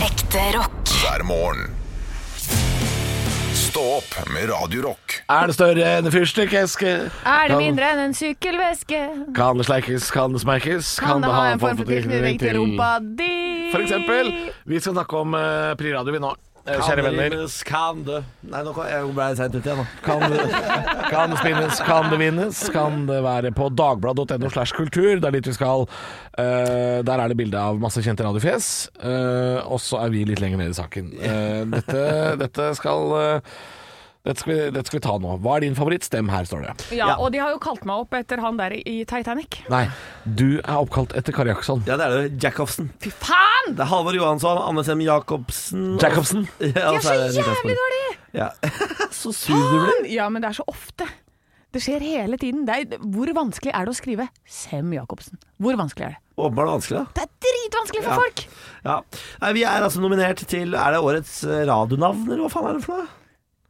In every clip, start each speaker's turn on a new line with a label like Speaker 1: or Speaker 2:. Speaker 1: Ekte rock.
Speaker 2: hver morgen. Stå opp med Radio Rock.
Speaker 3: Er det større enn en fyrstikkeske?
Speaker 4: Er det
Speaker 3: Kan-
Speaker 4: mindre enn en sykkelveske?
Speaker 3: Kan det sleikes, kan det smeikes?
Speaker 4: Kan det ha en form for tilknytning til rumpa di?
Speaker 3: For eksempel, vi skal snakke om uh, Priradio vi nå, eh, kjære venner.
Speaker 5: Kan det Nei, nå kan- jeg ble seint ute igjen, da.
Speaker 3: Kan det, kan det spinnes, kan det vinnes? Kan det være på dagblad.no slash kultur? Det er dit vi skal. Eh, der er det bilde av masse kjente radiofjes. eh, og så er vi litt lenger ned i saken. Eh, dette, dette skal eh, dette skal, vi, dette skal vi ta nå. Hva er din favoritt? Stem her, står det.
Speaker 4: Ja, og de har jo kalt meg opp etter han der i Titanic.
Speaker 3: Nei, du er oppkalt etter Kari Jakkesson.
Speaker 5: Ja, det er det. Jacobsen.
Speaker 4: Fy faen!
Speaker 5: Det er Halvor Johansson, Anne Sem Jacobsen og-
Speaker 3: Jacobsen.
Speaker 5: Ja,
Speaker 4: De
Speaker 5: og
Speaker 4: er
Speaker 5: så
Speaker 4: så
Speaker 5: er det Niklas
Speaker 4: jævlig
Speaker 5: Baarli.
Speaker 4: dårlige!
Speaker 5: Ja. så sur du blir.
Speaker 4: Ja, men det er så ofte. Det skjer hele tiden. Det er, hvor vanskelig er det å skrive Sem Jacobsen? Hvor vanskelig er det?
Speaker 5: Åpenbart vanskelig, da.
Speaker 4: Det er dritvanskelig for
Speaker 5: Ja.
Speaker 4: folk!
Speaker 5: Ja. Nei, vi er altså nominert til Er det årets eh, radionavn, eller hva faen er det for noe?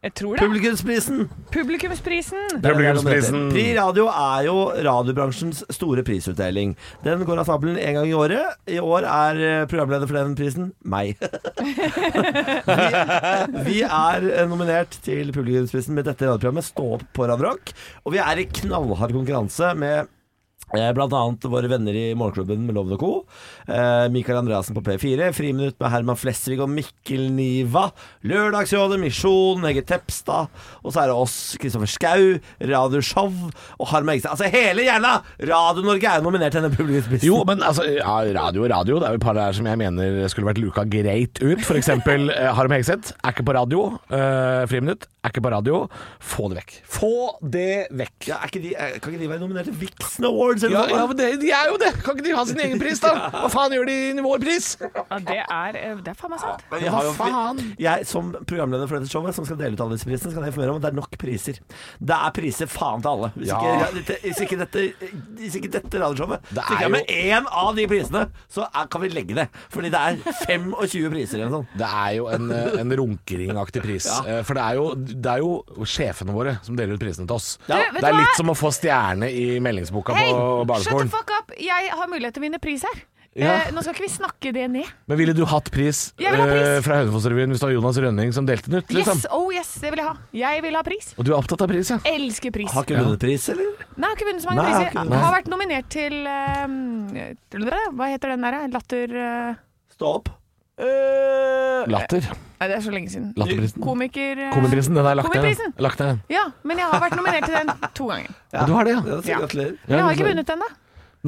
Speaker 4: Jeg tror det.
Speaker 5: Publikumsprisen!
Speaker 4: Publikumsprisen!
Speaker 5: Det er det
Speaker 3: Publikumsprisen.
Speaker 5: den heter. Pri Radio er jo radiobransjens store prisutdeling. Den går av stabelen én gang i året. I år er eh, programleder for den prisen meg. vi, vi er eh, nominert til publikumsprisen med dette radioprogrammet, Stå opp på Radio Rock. Og vi er i knallhard konkurranse med eh, Blant annet våre venner i Morgenklubben med Loven og Co. eh, Mikael Andreassen på P4. Friminutt med Herman Flesvig og Mikkel Niva. Lørdagsrådet, Misjon, Hege Tepstad. Og så er det oss, Kristoffer Schau, Radioshow og Harm Eggestad. Altså hele jævla Radio-Norge er jo nominert til denne publikumsprisen.
Speaker 3: Jo, men altså, ja, radio og radio. Det er jo et par her som jeg mener skulle vært luka greit ut. For eksempel eh, Harm Hegseth. Er ikke på radio. Eh, friminutt. Er ikke på radio. Få det vekk. Få det vekk.
Speaker 5: Ja, er ikke de, er, kan ikke de være nominert til Vixen Awards eller
Speaker 3: Ja,
Speaker 5: noe?
Speaker 3: ja, men det, de er jo det! Kan ikke de ha sin egen pris, da? Hva faen gjør de i vår pris?
Speaker 4: Ja, det er, eh, det er faen meg sant.
Speaker 5: Vi har jo,
Speaker 3: Hva faen?
Speaker 5: vi, jeg som programleder for dette showet, som skal dele ut alle disse prisene, skal jeg informere om at det er nok priser. Det er priser faen til alle. Hvis,
Speaker 3: Ja.
Speaker 5: ikke, ja, dette, hvis, ikke, dette, hvis ikke dette radioshowet
Speaker 3: Det er
Speaker 5: stikker jeg med én av de prisene, så er, kan vi legge det. Fordi det er 25 priser eller noe sånt.
Speaker 3: Det er jo en, eh, en runkeringaktig pris. Eh, For det er, jo, det er jo sjefene våre som deler ut prisene til oss.
Speaker 4: vet du
Speaker 3: Det er
Speaker 4: hva?
Speaker 3: litt som å få stjerne i meldingsboka
Speaker 4: Hei,
Speaker 3: på
Speaker 4: shut the
Speaker 3: barneskolen.
Speaker 4: fuck up! Jeg har mulighet til å vinne pris her.
Speaker 3: Ja.
Speaker 4: Eh, nå skal ikke vi snakke det ned.
Speaker 3: Men ville du hatt pris,
Speaker 4: Jeg vil ha pris.
Speaker 3: eh, fra Hønefoss-revyen hvis det var Jonas Rønning som delte den ut?
Speaker 4: Yes,
Speaker 3: Liksom?
Speaker 4: oh yes, det vil jeg ha. Jeg vil ha pris.
Speaker 3: Og du er opptatt av pris, ja?
Speaker 4: Elsker pris.
Speaker 5: Har ikke
Speaker 3: Ja.
Speaker 5: vunnet pris, eller?
Speaker 4: Nei, har ikke vunnet så mange
Speaker 5: Nei, har
Speaker 4: priser.
Speaker 5: ikke vunnet.
Speaker 4: Har, vært nominert til eh, til- Hva heter den der? Latter... eh,
Speaker 5: Stå opp.
Speaker 3: Latter.
Speaker 4: Nei, det er så lenge siden.
Speaker 3: Latterprisen.
Speaker 4: Komiker... eh,
Speaker 3: Komiprisen, den er lagt ned.
Speaker 4: Komiprisen.
Speaker 3: den. Lagt ned. den.
Speaker 4: Ja, men jeg har vært nominert til den to ganger.
Speaker 3: Ja, du har det, ja?
Speaker 5: Ja, så
Speaker 4: Ja.
Speaker 5: Gratulerer.
Speaker 4: Men jeg
Speaker 3: Ja,
Speaker 4: har ikke vunnet den, da.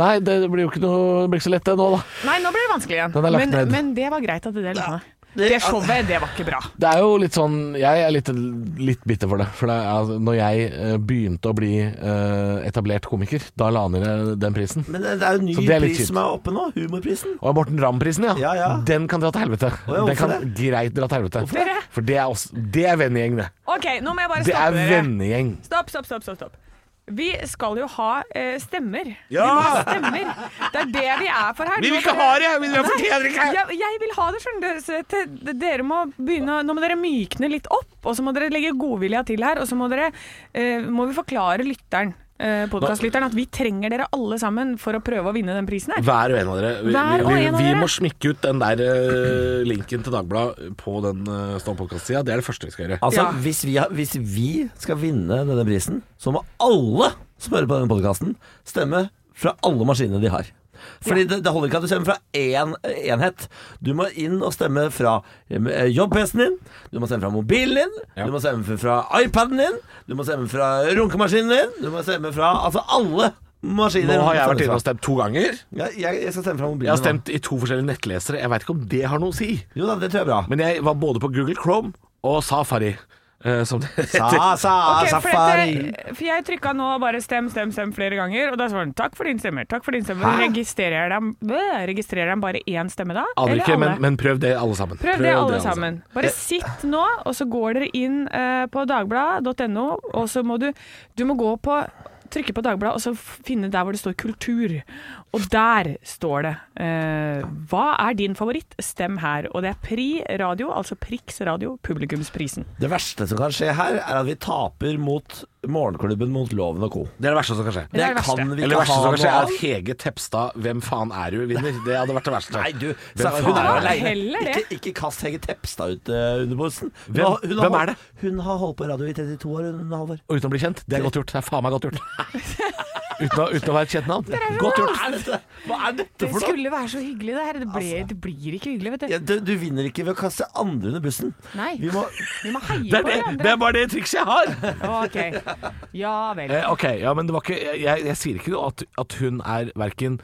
Speaker 3: Nei, det blir jo ikke noe Det blir ikke så lett det nå, da.
Speaker 4: Nei, nå blir det vanskelig igjen.
Speaker 3: Den er lagt
Speaker 4: men,
Speaker 3: ned.
Speaker 4: men det var greit at det løsna.
Speaker 5: Det-
Speaker 4: Det showet, det var ikke bra.
Speaker 3: Det er jo litt sånn Jeg er litt, litt bitter for det. For det er, altså, når jeg eh, begynte å bli eh, etablert komiker, da la han ned eh, den prisen.
Speaker 5: Men det det er jo en ny
Speaker 3: Så det er litt
Speaker 5: pris
Speaker 3: kjipt.
Speaker 5: som er oppe nå. Humorprisen.
Speaker 3: Og Morten Ramm-prisen, ja.
Speaker 5: Ja, ja.
Speaker 3: Den kan dra til helvete.
Speaker 5: ja,
Speaker 3: den
Speaker 5: hvorfor
Speaker 3: kan
Speaker 5: det?
Speaker 3: greit dra til helvete.
Speaker 4: Hvorfor det?
Speaker 3: For det er, oss- det er vennegjeng, det.
Speaker 4: OK, nå må jeg bare
Speaker 3: Det er
Speaker 4: stoppe dere.
Speaker 3: vennegjeng.
Speaker 4: Stopp, stopp, stopp. stopp, stopp. Vi skal jo ha eh, stemmer. Vi må ha stemmer. Det er det vi er for her. Nå dere-
Speaker 3: det! Vi fortjener ikke
Speaker 4: Jeg, jeg vil ha det, skjønner dere. Så til- dere må begynne, å- nå må dere mykne litt opp, og så må dere legge godvilja til her. Og så må, dere, eh, må vi forklare lytteren, eh, podcastlytteren at vi trenger dere alle sammen for å prøve å vinne den prisen her.
Speaker 3: Hver og en av dere. Vi,
Speaker 4: Hver og
Speaker 3: vi,
Speaker 4: en av
Speaker 3: vi
Speaker 4: dere.
Speaker 3: må smikke ut den der eh, linken til Dagbladet på den uh, sida Det er det første vi skal gjøre.
Speaker 5: Altså,
Speaker 4: Ja.
Speaker 5: hvis, vi har, hvis vi skal vinne denne prisen, så må alle som hører på denne podkasten, stemme fra alle maskinene de har. Fordi det, det holder ikke at du stemmer fra én eh, enhet. Du må inn og stemme fra eh, jobb-PC-en din, du må stemme fra mobilen din,
Speaker 3: Ja.
Speaker 5: du må stemme fra iPaden din, du må stemme fra runkemaskinen din, du må stemme fra Altså alle maskiner.
Speaker 3: Nå har jeg
Speaker 5: må
Speaker 3: vært Mm.
Speaker 5: stemme
Speaker 3: inne
Speaker 5: fra.
Speaker 3: og stemt to ganger.
Speaker 5: Jeg, jeg, jeg skal stemme fra mobilen.
Speaker 3: Jeg har
Speaker 5: nå.
Speaker 3: stemt i to forskjellige nettlesere. Jeg veit ikke om det har noe å si.
Speaker 5: Jo da, det tror jeg er bra.
Speaker 3: Men jeg var både på Google Chrome og Safari, eh, som det
Speaker 5: Sa,
Speaker 3: heter.
Speaker 5: sa,
Speaker 4: Ok, for,
Speaker 5: safari.
Speaker 4: dette, for jeg trykka nå bare stem, stem, stem flere ganger, og da svarer den takk for din stemmer. Takk for din stemmer.
Speaker 5: Hæ?
Speaker 4: Registrerer den, øh, registrerer den bare én stemme da?
Speaker 3: Aner
Speaker 4: Eller
Speaker 3: ikke, men,
Speaker 4: alle?
Speaker 3: men prøv det, alle sammen.
Speaker 4: Prøv det, altså. alle sammen. Bare sitt nå, og så går dere inn eh, på dagbladet.no, og så må du Du må gå på Trykke på Dagbladet, og så f- finne der hvor det står 'kultur'. Og der står det eh, 'Hva er din favoritt? Stem her'. Og det er Pri radio, altså Prix radio, publikumsprisen.
Speaker 5: Det verste som kan skje her, er at vi taper mot Morgenklubben mot Loven og co.
Speaker 3: Det er det verste som kan skje.
Speaker 4: Det
Speaker 5: Det
Speaker 4: er det verste.
Speaker 5: kan vi
Speaker 3: Eller det
Speaker 5: ikke
Speaker 3: verste
Speaker 5: ha
Speaker 3: som kan skje,
Speaker 5: noe
Speaker 3: er
Speaker 5: av.
Speaker 3: at Hege Tepstad 'Hvem faen er du?' vinner. Det hadde vært det verste.
Speaker 5: Nei, du,
Speaker 3: Hvem
Speaker 5: sa-
Speaker 3: faen
Speaker 5: hun er
Speaker 3: er
Speaker 4: det?
Speaker 5: alene.
Speaker 4: Heller det.
Speaker 5: Ikke, ikke kast Hege Tepstad ut eh, under bussen. Hun
Speaker 3: Hvem-
Speaker 5: har- hun har
Speaker 3: hvem er
Speaker 5: holdt-
Speaker 3: det?
Speaker 5: Hun har holdt på radio i 32 år, hun, Halvor.
Speaker 3: Og uten å bli kjent, det er godt gjort. Det er faen meg godt gjort. Uten å, uten å være et kjent navn. Godt gjort.
Speaker 5: Hva er dette, Hva er dette
Speaker 4: Det
Speaker 5: for noe?
Speaker 4: skulle være så hyggelig, det her. Det, ble, det blir ikke hyggelig, vet du.
Speaker 5: Ja, du, du vinner ikke ved å kaste andre under bussen.
Speaker 4: Nei.
Speaker 5: Vi må
Speaker 4: Vi må heie
Speaker 3: Det er,
Speaker 4: på
Speaker 3: det,
Speaker 4: hverandre.
Speaker 3: det er bare det trikset jeg har.
Speaker 4: Ok. Ja vel.
Speaker 3: Eh, ok, ja, men det var ikke Jeg, jeg, jeg sier ikke noe at, at hun er verken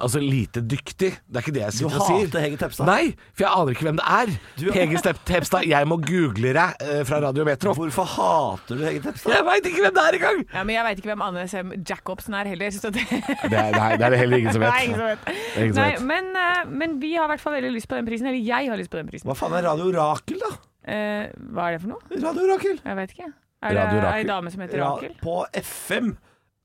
Speaker 3: altså, lite dyktig. Det er ikke det jeg
Speaker 5: Du
Speaker 3: sitter og sier.
Speaker 5: hater Hege Tepstad.
Speaker 3: Nei, for jeg aner ikke hvem det er.
Speaker 5: Du-
Speaker 3: Hege Step- Tepstad, jeg må google deg eh, fra Radio Metro.
Speaker 5: Hvorfor hater du Hege Tepstad?
Speaker 3: Jeg veit ikke hvem det er engang!
Speaker 4: Ja, men jeg veit ikke hvem Anne Sem Jacobsen er heller. Så det,
Speaker 3: Det er, nei, det er det heller ingen som
Speaker 4: Nei, ingen
Speaker 3: vet.
Speaker 4: som vet.
Speaker 3: Det er ingen som
Speaker 4: Nei,
Speaker 3: vet.
Speaker 4: men, eh, men vi har i hvert fall veldig lyst på den prisen. Eller jeg har lyst på den prisen.
Speaker 5: Hva faen er Radio Rakel, da?
Speaker 4: Eh, hva er det for noe?
Speaker 5: Radio Rakel.
Speaker 4: Jeg vet ikke. Er det
Speaker 3: Radio Rakel.
Speaker 4: ei dame som heter
Speaker 5: Ra-
Speaker 4: Rakel?
Speaker 5: På FM.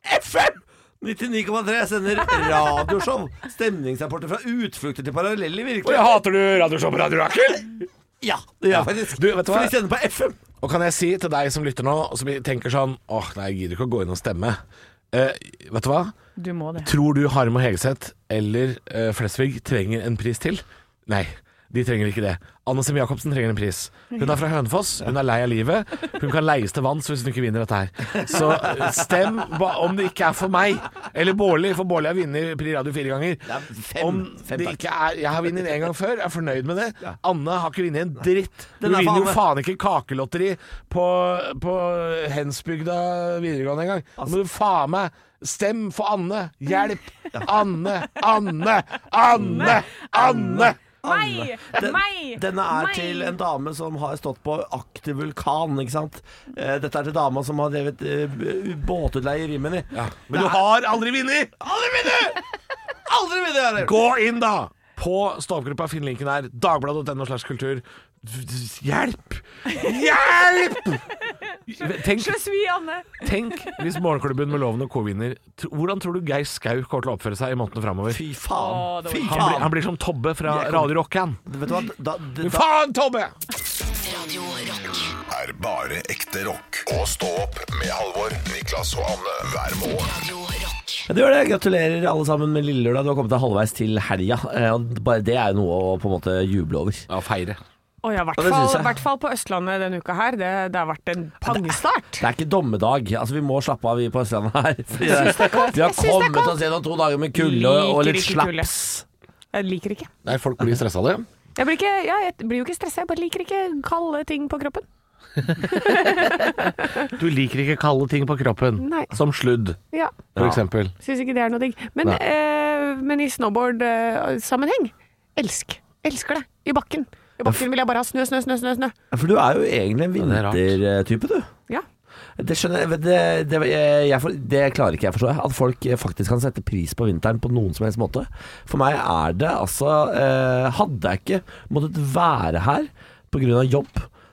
Speaker 5: FM! 99,3 sender radioshow. Stemningsrapporter fra utflukter til parallelle
Speaker 3: Oi,
Speaker 5: virkeligheter.
Speaker 3: hater du Radioshow på Radio Rakel?
Speaker 5: Ja, det gjør
Speaker 3: Ja.
Speaker 5: jeg faktisk.
Speaker 3: Du, vet du hva?
Speaker 5: For de sender på FM.
Speaker 3: Og kan jeg si til deg som lytter nå, som tenker sånn Åh, nei, jeg gidder ikke å gå inn og stemme. Eh, vet du hva?
Speaker 4: Du må det.
Speaker 3: Tror du Harm og Hegeseth eller eh, Flesvig trenger en pris til? Nei, de trenger ikke det. Anne Sem Jacobsen trenger en pris. Hun er fra Hønefoss, hun er lei av livet. Hun kan leies til vanns hvis hun ikke vinner dette her. Så eh, stem ba- om det ikke er for meg. Eller Bårli, for Bårli har vunnet Pri Radio fire ganger.
Speaker 5: Ja, fem.
Speaker 3: om
Speaker 5: Fem,
Speaker 3: det
Speaker 5: takk.
Speaker 3: ikke er Jeg har vunnet en gang før, jeg er fornøyd med det. Anne har ikke vunnet en dritt. Hun
Speaker 5: Den er for
Speaker 3: vinner jo
Speaker 5: Anne.
Speaker 3: faen ikke kakelotteri på, på Hensbygda videregående engang. Nå må du faen meg Stem for Anne! Hjelp! Anne! Anne! Anne! Anne!
Speaker 4: Meg!
Speaker 5: Den-
Speaker 4: Meg!
Speaker 5: Denne er
Speaker 4: Meg!
Speaker 5: til en dame som har stått på aktiv vulkan, ikke sant. Eh, Dette er til dama som har drevet eh, b- båtutleie i Rimini.
Speaker 3: Men du har aldri vunnet!
Speaker 5: Aldri vinne! Aldri vinne! er det.
Speaker 3: Gå inn, da! På stavgruppa, finn linken her. Dagbladet.no slash kultur. Hjelp! Hjelp! Tenk,
Speaker 4: Sløs vi, Anne!
Speaker 3: tenk hvis Morgenklubben med Loven og co. vinner. Tr- Hvordan tror du Geir Skau kommer til å oppføre seg i månedene framover?
Speaker 5: Fy
Speaker 4: Å,
Speaker 5: faen.
Speaker 4: det var
Speaker 5: Fy
Speaker 4: ikke-
Speaker 3: Han blir,
Speaker 5: faen.
Speaker 3: han blir som Tobbe fra
Speaker 5: Jeg kommer-
Speaker 3: Radio Rock han.
Speaker 5: Vet du hva, da, da, da,
Speaker 3: Faen, Tobbe!
Speaker 1: Radio Rock.
Speaker 2: Er bare ekte rock. Og stå opp med Halvor, Niklas og Anne hver morgen.
Speaker 1: Radio Rock.
Speaker 5: Ja, det gjør det. Gratulerer alle sammen med lille lørdag. Du har kommet deg halvveis til helga. Eh, og Bare det er jo noe å på en måte juble over.
Speaker 3: Ja, feire.
Speaker 4: Å ja, i hvert
Speaker 5: Ja, det
Speaker 4: fall-
Speaker 5: synes jeg.
Speaker 4: i hvert fall på Østlandet denne uka her. Det, det har vært en pangstart.
Speaker 5: Det er ikke dommedag. Altså, vi må slappe av, vi på Østlandet her. Fordi det, vi
Speaker 4: Jeg
Speaker 5: har
Speaker 4: synes det er
Speaker 5: kommet
Speaker 4: kaldt.
Speaker 5: oss gjennom to dager med kulde og, og litt
Speaker 4: Liker ikke kulde.
Speaker 5: slaps.
Speaker 4: Jeg liker ikke.
Speaker 3: Nei, folk blir stressa av det.
Speaker 4: Jeg blir, ikke, ja, jeg blir jo ikke stressa, jeg bare liker ikke kalde ting på kroppen.
Speaker 3: Du liker ikke kalde ting på kroppen.
Speaker 4: Nei.
Speaker 3: Som sludd,
Speaker 4: Ja,
Speaker 3: for eksempel.
Speaker 4: Syns ikke det er noe digg. Men,
Speaker 3: Nei.
Speaker 4: eh, men i snowboard-sammenheng elsk. Elsker det. I bakken. I bakken vil jeg bare ha snø, snø, snø, snø. snø.
Speaker 5: Ja, For du er jo egentlig en
Speaker 3: det er rart.
Speaker 5: vintertype, du.
Speaker 4: Ja.
Speaker 5: Det skjønner jeg, det, det, jeg, jeg for- det klarer ikke jeg å forstå. At folk faktisk kan sette pris på vinteren på noen som helst måte. For meg er det altså eh, Hadde jeg ikke måttet være her pga. jobb,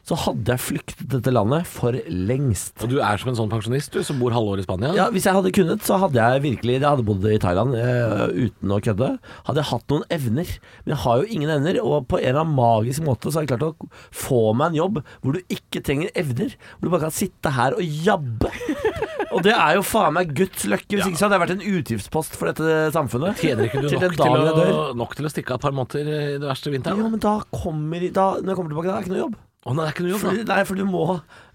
Speaker 5: så hadde jeg flyktet dette landet for lengst.
Speaker 3: Og du er som en sånn pensjonist du, som bor halve året i Spania.
Speaker 5: Ja, Hvis jeg hadde kunnet, så hadde jeg virkelig Jeg hadde bodd i Thailand eh, uten å kødde. Hadde jeg hatt noen evner. Men jeg har jo ingen evner, og på en eller annen magisk måte så har jeg klart å få meg en jobb hvor du ikke trenger evner. Hvor du bare kan sitte her og jabbe. Og det er jo faen meg Guds løkke. Hvis ikke så hadde jeg vært en utgiftspost for dette samfunnet.
Speaker 3: Tjener ikke du
Speaker 5: Til
Speaker 3: nok
Speaker 5: den
Speaker 3: til,
Speaker 5: dagen jeg
Speaker 3: å,
Speaker 5: dør.
Speaker 3: nok til å stikke av et par måneder eh, i det verste
Speaker 5: Jo,
Speaker 3: vinteren?
Speaker 5: men da kommer da, Når jeg kommer tilbake, da er det ikke noe jobb.
Speaker 3: Å nei, det er ikke noe jobb,
Speaker 5: Fordi,
Speaker 3: da.
Speaker 5: nei, for du må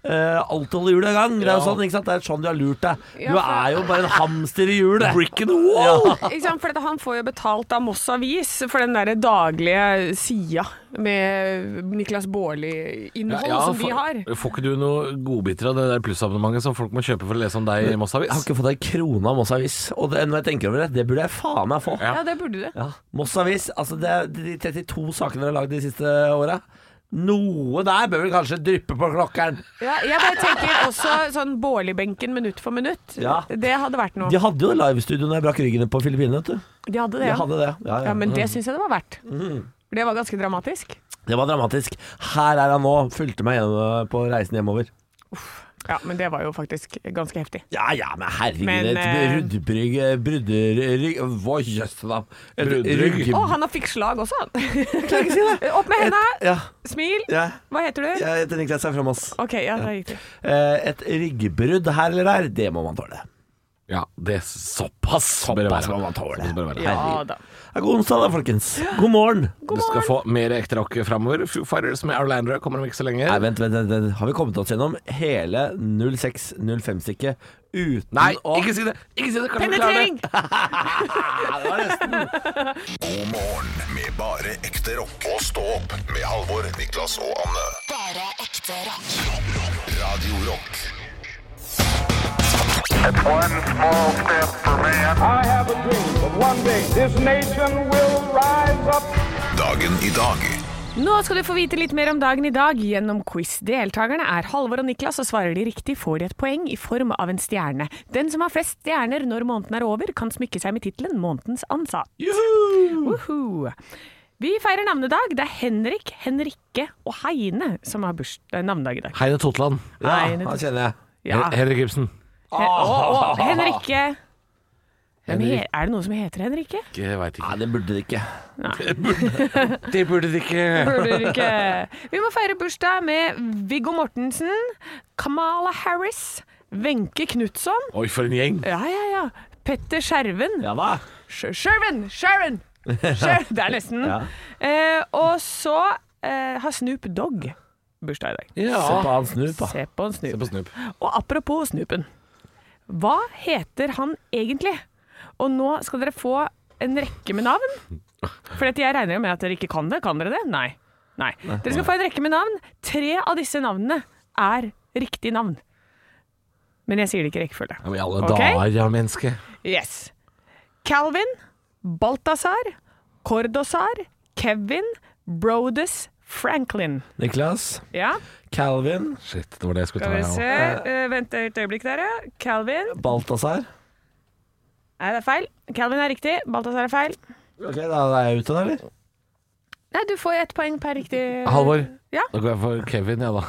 Speaker 5: eh, alltid holde hjulet i gang. Det er jo
Speaker 3: Ja.
Speaker 5: sånn, ikke sant? Det er sånn du har lurt deg.
Speaker 4: Ja,
Speaker 5: Du
Speaker 4: for-
Speaker 5: er jo bare en hamster i hjulet.
Speaker 3: Brick in the wall!
Speaker 4: Ikke sant? For dette, han får jo betalt av Moss Avis for den derre daglige sida med Niklas Baarli-innhold som vi
Speaker 3: får-
Speaker 4: har.
Speaker 3: Får ikke du noe godbiter av det der plussabonnementet som folk må kjøpe for å lese om deg i Moss
Speaker 5: Jeg har
Speaker 3: Avis?
Speaker 5: ikke fått ei krone av Moss Avis, og det, når jeg tenker over det, det burde jeg faen meg få.
Speaker 3: Ja.
Speaker 4: Ja, det burde du.
Speaker 5: Ja. Moss Avis, altså det, er de 32 sakene dere har lagd de siste åra. Noe der bør vel kanskje dryppe på klokkeren.
Speaker 4: Ja, jeg bare tenker også sånn Baarli-benken minutt for minutt.
Speaker 5: Ja.
Speaker 4: Det hadde vært noe.
Speaker 5: De hadde jo livestudio når jeg brakk ryggen på Filippinene, vet du.
Speaker 4: De hadde det,
Speaker 5: De
Speaker 4: ja.
Speaker 5: hadde det. Mm. Ja, ja.
Speaker 4: ja men det syns jeg det var verdt. Det var ganske dramatisk.
Speaker 5: Det var dramatisk. Her er han nå. Fulgte meg gjennom på reisen eh, hjemover.
Speaker 4: Ja, men det var jo faktisk ganske heftig.
Speaker 5: Ja ja, men herregud.
Speaker 4: Men, eh,
Speaker 5: et bruddbrygg Brudderrygg Hva jøss, da? Et
Speaker 3: Bruddrygg.
Speaker 5: rygg-
Speaker 4: Å, han har fikk slag også, han.
Speaker 5: Klarer ikke å si det.
Speaker 4: Opp med
Speaker 5: Et,
Speaker 4: hendene!
Speaker 5: ja,
Speaker 4: Smil!
Speaker 5: ja,
Speaker 4: Hva heter du?
Speaker 5: jeg heter Niklas jeg er fra Moss.
Speaker 4: OK, ja, der gikk det.
Speaker 5: Eh, Et ryggbrudd her eller der, det må man tåle.
Speaker 3: Ja, det er såpass, bør det
Speaker 5: Såpass må
Speaker 3: være.
Speaker 5: man tåle.
Speaker 3: Såpass bør det være.
Speaker 4: Ja da.
Speaker 5: Ja, God onsdag, da, folkens. God morgen.
Speaker 3: Du skal få mer ekte rock framover. Foo Fighters med Orlando kommer om ikke så lenge.
Speaker 5: Nei, vent, vent, vent, vent. Har vi kommet oss gjennom hele 06-05-stykket uten
Speaker 3: Nei,
Speaker 5: å
Speaker 3: ikke si det! Ikke si det! Kan du klare
Speaker 4: Penetrering!
Speaker 3: det?
Speaker 2: God morgen med bare ekte rock. Og stå opp med Halvor, Niklas og Anne.
Speaker 1: Bare ekte rock.
Speaker 2: Rock, rock. Radio Rock.
Speaker 6: One small step for man. I have a dream that one day this nation will rise up.
Speaker 2: Dagen i dag.
Speaker 4: Nå skal du få vite litt mer om dagen i dag gjennom quiz. Deltakerne er Halvor og Niklas, og svarer de riktig får de et poeng i form av en stjerne. Den som har flest stjerner når måneden er over, kan smykke seg med tittelen 'Månedens ansatt'. Woohoo! Vi feirer navnedag. Det er Henrik, Henrikke og Heine som har burs- eh, navnedag i dag.
Speaker 3: Heine Totland.
Speaker 5: Ja,
Speaker 4: Nei, det-
Speaker 5: han kjenner jeg.
Speaker 4: Ja.
Speaker 3: Hen- Henrik Ibsen.
Speaker 4: He å, å, Henrikke Hvem he
Speaker 3: Henrik-
Speaker 4: Er det noen som heter Henrikke?
Speaker 3: Jeg veit
Speaker 5: Nei,
Speaker 3: ikke.
Speaker 5: det burde det ikke.
Speaker 3: Det burde det ikke.
Speaker 4: Burde dere ikke. Vi må feire bursdag med Viggo Mortensen, Kamala Harris, Wenche Knutson
Speaker 3: Oi, for en gjeng.
Speaker 4: Ja, ja, ja. Petter Skjerven.
Speaker 5: Ja da.
Speaker 4: Sh- Skjerven! Sharon! Skjer- Det er nesten.
Speaker 5: Ja.
Speaker 4: Eh, og så eh, har Snoop Dogg bursdag i dag.
Speaker 3: Ja.
Speaker 5: Se på han Snoop, da.
Speaker 4: Se på en Snoop.
Speaker 3: på Snoop.
Speaker 4: Og apropos Snoopen. Hva heter han egentlig? Og nå skal dere få en rekke med navn. For dette jeg regner jo med at dere ikke kan det. Kan dere det? Nei. Nei. Dere skal få en rekke med navn. Tre av disse navnene er riktig navn. Men jeg sier det ikke i rekkefølge.
Speaker 3: Ja, men i alle
Speaker 4: Ok.
Speaker 3: dager, ja, menneske.
Speaker 4: Yes. Calvin, Balthazar, Cordosar, Kevin, Brodus, Franklin.
Speaker 5: Niklas.
Speaker 4: Ja,
Speaker 5: Calvin.
Speaker 3: Shit, det var det jeg skulle
Speaker 4: skal
Speaker 3: ta.
Speaker 4: vi
Speaker 3: jeg også.
Speaker 4: se. Eh, vent et øyeblikk der, ja. Calvin.
Speaker 5: Balthazar.
Speaker 4: Nei, det er feil. Calvin er riktig, Balthazar er feil.
Speaker 5: Ok, da er jeg ute da, eller?
Speaker 4: Nei, du får ett poeng per riktig
Speaker 3: Halvor.
Speaker 4: Ja.
Speaker 3: Da går jeg for Kevin, ja da.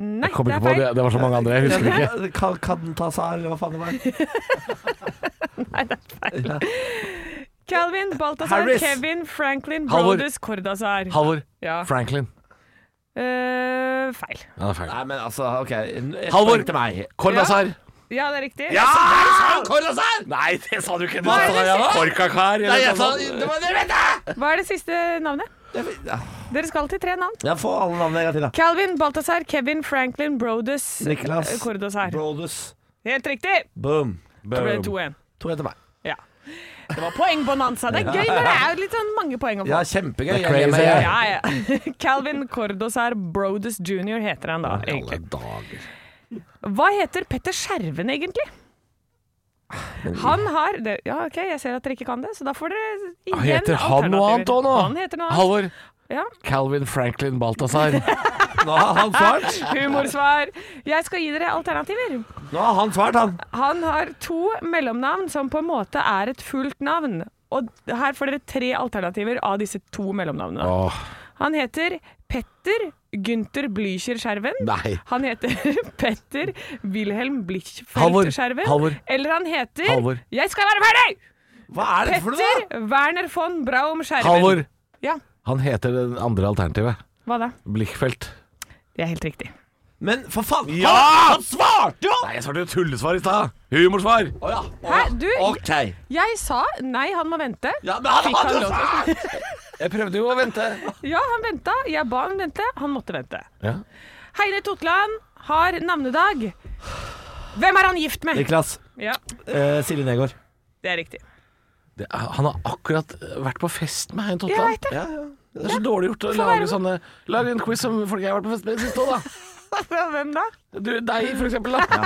Speaker 4: Nei,
Speaker 3: Kom ikke
Speaker 4: det er
Speaker 3: på
Speaker 4: feil.
Speaker 3: det. Det var så mange andre, jeg husker ikke.
Speaker 5: Ka- Kantazar, eller hva faen det var.
Speaker 4: Calvin, Balthazar,
Speaker 5: Harris.
Speaker 4: Kevin, Franklin,
Speaker 3: Halvor.
Speaker 4: Brodus, Cordazar.
Speaker 3: Halvor.
Speaker 4: Ja.
Speaker 3: Franklin.
Speaker 4: Eh, feil.
Speaker 3: Ja, det er feil.
Speaker 5: Nei, men altså, ok. Et
Speaker 3: Halvor.
Speaker 5: poeng til meg.
Speaker 3: Cornazar.
Speaker 4: Ja, det er riktig.
Speaker 3: Ah! Cornazar! Nei, det sa du ikke. Du
Speaker 5: Hva
Speaker 3: sa
Speaker 5: er det
Speaker 3: ja,
Speaker 5: siste?
Speaker 3: Korkakar. eller
Speaker 5: Nei, jeg
Speaker 3: noe
Speaker 5: sa
Speaker 3: sånt.
Speaker 5: Det var det, vet jeg!
Speaker 4: Hva er det siste navnet?
Speaker 5: Ja.
Speaker 4: Dere skal til tre navn.
Speaker 5: Jeg får alle navnene en gang til, da.
Speaker 4: Calvin, Balthazar, Kevin, Franklin, Brodus,
Speaker 5: Niklas.
Speaker 4: eh, Cordazar.
Speaker 5: Brodus.
Speaker 4: Helt riktig!
Speaker 5: Boom.
Speaker 4: Da ble det 2-1.
Speaker 5: To etter meg.
Speaker 4: Ja. Det var poengbonanza. Det er gøy når det er litt sånn mange poeng å få.
Speaker 5: Ja, kjempegøy.
Speaker 3: Det er crazy.
Speaker 5: Jeg- jeg-
Speaker 4: Ja, ja. Calvin Cordosar Brodus jr. heter han da, egentlig.
Speaker 3: Alle dager.
Speaker 4: Hva heter Petter Skjerven egentlig? Han har det, Ja, OK, jeg ser at dere ikke kan det, så da får dere igjen
Speaker 3: Hva heter han noe
Speaker 4: alternativer.
Speaker 3: annet òg nå?
Speaker 4: Han heter noe annet.
Speaker 3: Halvor.
Speaker 4: Ja.
Speaker 3: Calvin Franklin Balthazar.
Speaker 5: Nå har han svart.
Speaker 4: Humorsvar. Jeg skal gi dere alternativer.
Speaker 5: Nå har han svart, han.
Speaker 4: Han har to mellomnavn som på en måte er et fullt navn. Og her får dere tre alternativer av disse to mellomnavnene.
Speaker 3: Åh,
Speaker 4: Han heter Petter Gunther Blücher Skjerven.
Speaker 3: Nei.
Speaker 4: Han heter Petter Wilhelm
Speaker 3: Halvor,
Speaker 4: Blichfeldt Skjerven.
Speaker 3: Halvor.
Speaker 4: Eller han heter
Speaker 3: Halvor.
Speaker 4: Jeg skal være ferdig!
Speaker 5: Hva er det for noe? da?
Speaker 4: Petter Werner von Braum Skjerven.
Speaker 3: Halvor.
Speaker 4: Ja,
Speaker 3: Han heter det andre alternativet.
Speaker 4: hva da?
Speaker 3: Blikkfelt.
Speaker 4: Det er helt riktig.
Speaker 5: Men for faen
Speaker 3: Ja!
Speaker 5: han, han svarte jo!
Speaker 3: Nei, jeg svarte jo tullesvar i stad. Humorsvar.
Speaker 5: Å ja. å
Speaker 4: Hæ,
Speaker 5: ja.
Speaker 4: du?
Speaker 5: Ok.
Speaker 4: Jeg sa nei, han må vente.
Speaker 5: Ja, men han
Speaker 4: Fikk han
Speaker 5: hadde
Speaker 4: lov
Speaker 5: svart!
Speaker 3: Jeg prøvde jo å vente.
Speaker 4: Ja, han venta. Jeg ba han vente. Han måtte vente.
Speaker 3: Ja.
Speaker 4: Heine Totland har navnedag. Hvem er han gift med?
Speaker 5: Niklas.
Speaker 4: Ja,
Speaker 5: eh, Silje Negård.
Speaker 4: det er riktig.
Speaker 3: Det, han har akkurat vært på fest med Hein
Speaker 4: Jeg veit
Speaker 3: Totland.
Speaker 4: det.
Speaker 5: Ja, ja.
Speaker 3: Det er så dårlig gjort å
Speaker 4: Få være
Speaker 3: lage
Speaker 4: med.
Speaker 3: sånne Lag en quiz som folk jeg har vært på fest med i det siste òg, da.
Speaker 4: Hvem da?
Speaker 3: Du, deg, for eksempel. Da.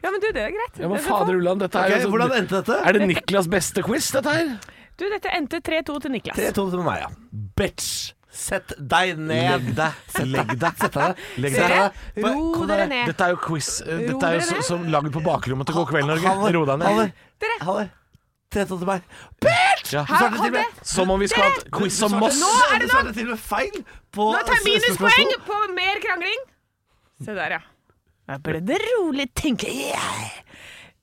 Speaker 4: Ja, men du, det er greit.
Speaker 3: Ja, men
Speaker 4: Det er
Speaker 3: fader ulland, dette er
Speaker 5: Ok,
Speaker 3: jo sånn-
Speaker 5: hvordan endte dette?
Speaker 3: Er det Niklas' beste quiz, dette her?
Speaker 4: Du, dette endte 3-2 til Niklas.
Speaker 5: 3-2 til meg, ja. Bitch! Sett deg ned. Legg deg. Legg deg. Sett deg ned. Legg
Speaker 4: Dere,
Speaker 5: Bare-
Speaker 4: ro
Speaker 5: kom
Speaker 4: dere
Speaker 5: deg.
Speaker 4: ned.
Speaker 3: Dette er jo quiz. eh,
Speaker 4: Ro
Speaker 3: Dette er jo
Speaker 4: dere
Speaker 3: så,
Speaker 4: ned.
Speaker 3: som lagd på bakrommet til God kveld, Norge.
Speaker 5: Halvor,
Speaker 3: Ro deg ned.
Speaker 5: Halvor,
Speaker 4: Dere.
Speaker 5: Halvor. 3-2 til meg. Bitch!
Speaker 3: Ja.
Speaker 5: Du svarte
Speaker 4: Halvor,
Speaker 5: til og med-
Speaker 3: Som om vi skal ha et quiz om Moss.
Speaker 4: Nå er det
Speaker 5: Du svarte til og med feil på
Speaker 4: Nå tar jeg
Speaker 5: spørsmål to.
Speaker 4: minuspoeng på mer krangling. Se der, ja. Da ble det rolig, tenker jeg.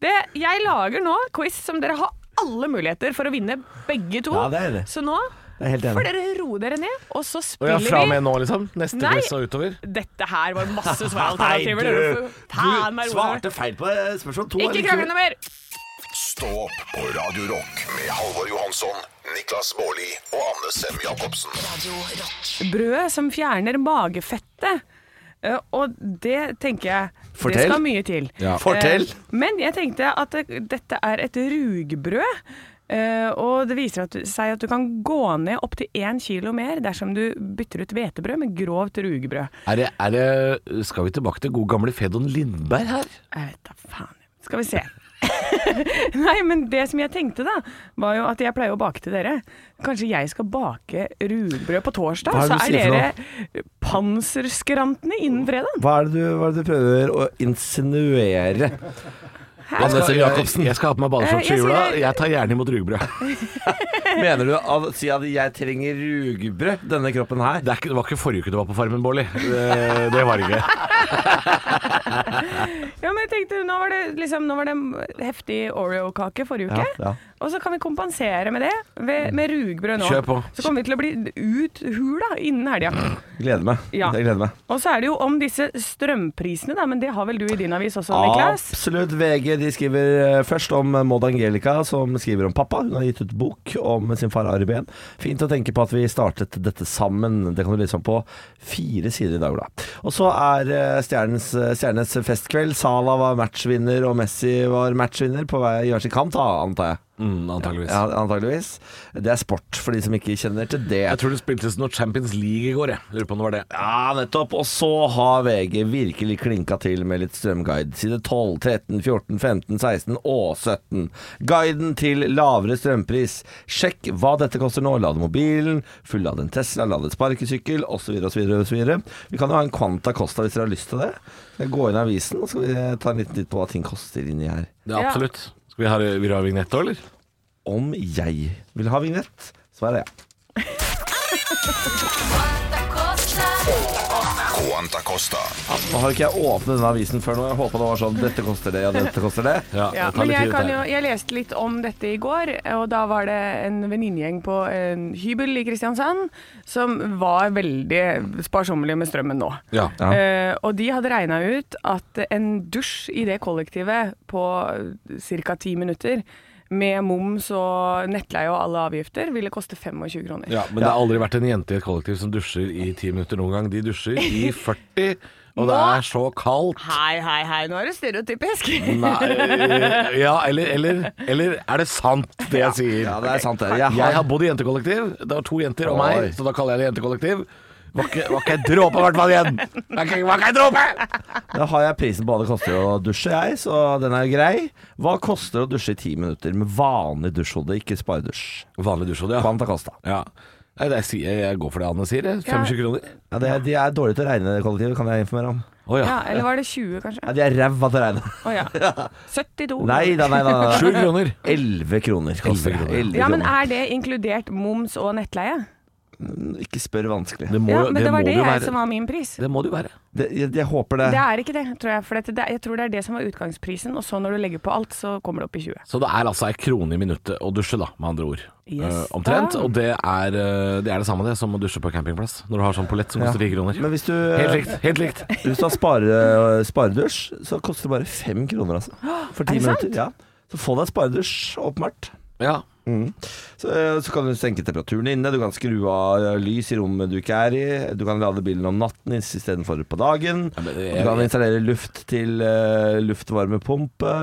Speaker 4: Det, jeg lager nå quiz som dere har alle muligheter for å vinne, begge to.
Speaker 5: Ja, det er det.
Speaker 4: Så nå
Speaker 5: Jeg er helt
Speaker 4: får
Speaker 5: enig.
Speaker 4: dere roe dere ned, og så
Speaker 3: Og ja,
Speaker 4: spiller
Speaker 3: fra og
Speaker 4: vi
Speaker 3: med nå, liksom? Neste
Speaker 4: Nei.
Speaker 3: quiz og utover?
Speaker 4: Dette her var masse
Speaker 5: Nei,
Speaker 4: svaralternativer. dere får faen
Speaker 5: du
Speaker 4: meg roe dere.
Speaker 5: svarte feil på eh, spørsmål to.
Speaker 4: Ikke krangle noe mer!
Speaker 2: Stå opp på Radio Rock med Halvor Johansson, Niklas Baarli og Anne Sem Jacobsen.
Speaker 1: Radio Rock.
Speaker 4: Brødet som fjerner magefettet. Eh, Og det tenker jeg
Speaker 5: Fortell.
Speaker 4: Det skal mye til.
Speaker 3: Ja.
Speaker 5: Fortell.
Speaker 4: Eh, Men jeg tenkte at det, dette er et rugbrød. eh, og det viser at, seg at du kan gå ned opptil én kilo mer dersom du bytter ut hvetebrød med grovt rugbrød.
Speaker 7: Er det, er det, skal vi tilbake til god gamle Fedon Lindberg her?
Speaker 4: Jeg vet da faen. Skal vi se. Nei, men det som jeg tenkte da, var jo at jeg pleier å bake til dere. Kanskje jeg skal bake rugbrød på torsdag,
Speaker 5: Hva er
Speaker 4: så
Speaker 5: det
Speaker 4: er
Speaker 5: du sier for
Speaker 4: dere panserskrantene innen fredag.
Speaker 5: Hva er, det du, hva er det du prøver å insinuere?
Speaker 7: Anne Sem Jacobsen.
Speaker 3: Jeg skal ha på meg
Speaker 4: Eh,
Speaker 3: badeshorts
Speaker 4: jeg
Speaker 3: i jula.
Speaker 4: sier-
Speaker 3: Jeg tar gjerne imot rugbrød.
Speaker 5: Mener du å si at jeg trenger rugbrød, denne kroppen her?
Speaker 3: Det, er ikke, det var ikke forrige uke du var på Farmen, Bårli. Det, det var det ikke.
Speaker 4: Ja, men jeg tenkte, nå var det, liksom, nå var det heftig Oreo-kake forrige uke.
Speaker 5: Ja, Mm. ja.
Speaker 4: Og så kan vi kompensere med det ved, med rugbrød nå.
Speaker 3: Kjør på.
Speaker 4: Så kommer vi til å bli uthula innen helga.
Speaker 5: Mm. Gleder meg.
Speaker 4: Ja.
Speaker 5: Jeg gleder meg.
Speaker 4: Og så er det jo om disse strømprisene, da, men det har vel du i din avis også, Niklas?
Speaker 5: Absolutt. VG de skriver eh, først om Maud Angelica, som skriver om pappa. Hun har gitt ut bok om sin far Ari Behn. Fint å tenke på at vi startet dette sammen. Det kan du lese om på fire sider i dag, da. Og så er eh, stjernens, eh, stjernes festkveld. Sala var matchvinner, og Messi var matchvinner på vei i hver sin kant, da, antar jeg.
Speaker 3: Mm, antageligvis.
Speaker 5: Ja, antageligvis. Det er sport for de som ikke kjenner til det.
Speaker 3: Jeg tror det spiltes noe Champions League i går, jeg. Lurer på om det var det.
Speaker 5: Ja, nettopp. Og så har VG virkelig klinka til med litt strømguide. Side 12, 13, 14, 15, 16 og 17. Guiden til lavere strømpris. Sjekk hva dette koster nå. Lade mobilen, fullade en Tesla, lade et sparkesykkel osv. osv. Vi kan jo ha en Quanta Costa hvis dere har lyst til det. Skal jeg Gå inn i avisen og så skal vi ta en liten titt på hva ting koster inni her.
Speaker 3: det er
Speaker 4: Ja.
Speaker 3: absolutt. Skal vi ha, vil du ha vignett òg, eller?
Speaker 5: Om jeg vil ha vignett, svarer jeg.
Speaker 2: Quanta Costa.
Speaker 5: Nå har ikke jeg åpnet denne avisen før nå. Jeg håpa det var sånn Dette koster det, ja, dette koster det.
Speaker 4: Ja, men jeg, kan jo, jeg leste litt om dette i går, og da var det en venninnegjeng på en hybel i Kristiansand som var veldig sparsommelige med strømmen nå.
Speaker 3: Ja.
Speaker 5: Ja.
Speaker 4: Eh, og de hadde regna ut at en dusj i det kollektivet på ca. ti minutter med moms og nettleie og alle avgifter ville koste 25 kroner.
Speaker 3: ja, men det har aldri vært en jente i et kollektiv som dusjer i ti minutter noen gang. De dusjer i 40, og det
Speaker 4: Nå-
Speaker 3: er så kaldt.
Speaker 4: Hei, hei, hei, nå er det stereotypisk.
Speaker 3: Nei Ja, eller, eller, eller er det sant, det jeg sier?
Speaker 5: Ja, det er sant, det. Jeg
Speaker 3: Jeg har bodd i jentekollektiv. Det var to jenter og meg,
Speaker 5: Oi.
Speaker 3: så da kaller jeg det jentekollektiv. Var ikke, var ikke en dråpe, i hvert fall igjen! Var ikke, var ikke en dråpe!
Speaker 5: Da har jeg prisen på hva det koster å dusje, jeg, så den er grei. Hva koster å dusje i ti minutter med vanlig dusjhode, ikke sparedusj?
Speaker 3: Vanlig dusjhode, ja.
Speaker 5: Quanta Costa.
Speaker 3: ja. Nei, det sier jeg, jeg går for det Anne sier, jeg. 25 kroner.
Speaker 5: Ja, det, de er dårlige til å regne, det kollektivet, kan jeg informere om.
Speaker 3: Å ja.
Speaker 4: Ja, eller var det 20, kanskje?
Speaker 5: Ja, de er ræva til å regne.
Speaker 4: Å ja. 72.
Speaker 5: Nei da, nei da.
Speaker 3: 7 kroner.
Speaker 5: 11 kroner koster det. 11
Speaker 4: Ja, men
Speaker 5: kroner.
Speaker 4: er det inkludert moms og nettleie?
Speaker 5: Mm, Ikke spør vanskelig.
Speaker 3: Det må,
Speaker 4: Ja,
Speaker 3: jo-
Speaker 4: men det, var
Speaker 3: må
Speaker 4: det
Speaker 3: jo
Speaker 4: jeg
Speaker 3: være.
Speaker 4: som var min pris.
Speaker 3: Det må det jo være.
Speaker 5: Det, jeg, jeg håper det.
Speaker 4: Det er ikke det, tror jeg. For dette, det, jeg tror det er det som var utgangsprisen, og så når du legger på alt, så kommer det opp i 20.
Speaker 3: Så det er altså ei krone i minuttet å dusje, da, med andre ord.
Speaker 4: Yes.
Speaker 3: Eh, omtrent.
Speaker 4: Ah.
Speaker 3: Og det er, eh, det er det samme det som å dusje på campingplass, når du har sånn pollett som koster 10 kroner.
Speaker 5: Men hvis du,
Speaker 4: eh,
Speaker 3: Helt likt. Helt likt.
Speaker 5: hvis du har spare, sparedusj, så koster det bare 5 kroner, altså. For ti
Speaker 4: det sant?
Speaker 5: minutter. Ja. Så få deg sparedusj, åpenbart.
Speaker 3: Ja.
Speaker 5: Så, eh, så kan du senke temperaturen inne, du kan skru av eh, lys i rommet du ikke er i, du kan lade bilen om natten istedenfor på dagen,
Speaker 3: Ja, men eh, det-
Speaker 5: du kan installere luft til eh, luftvarmepumpe,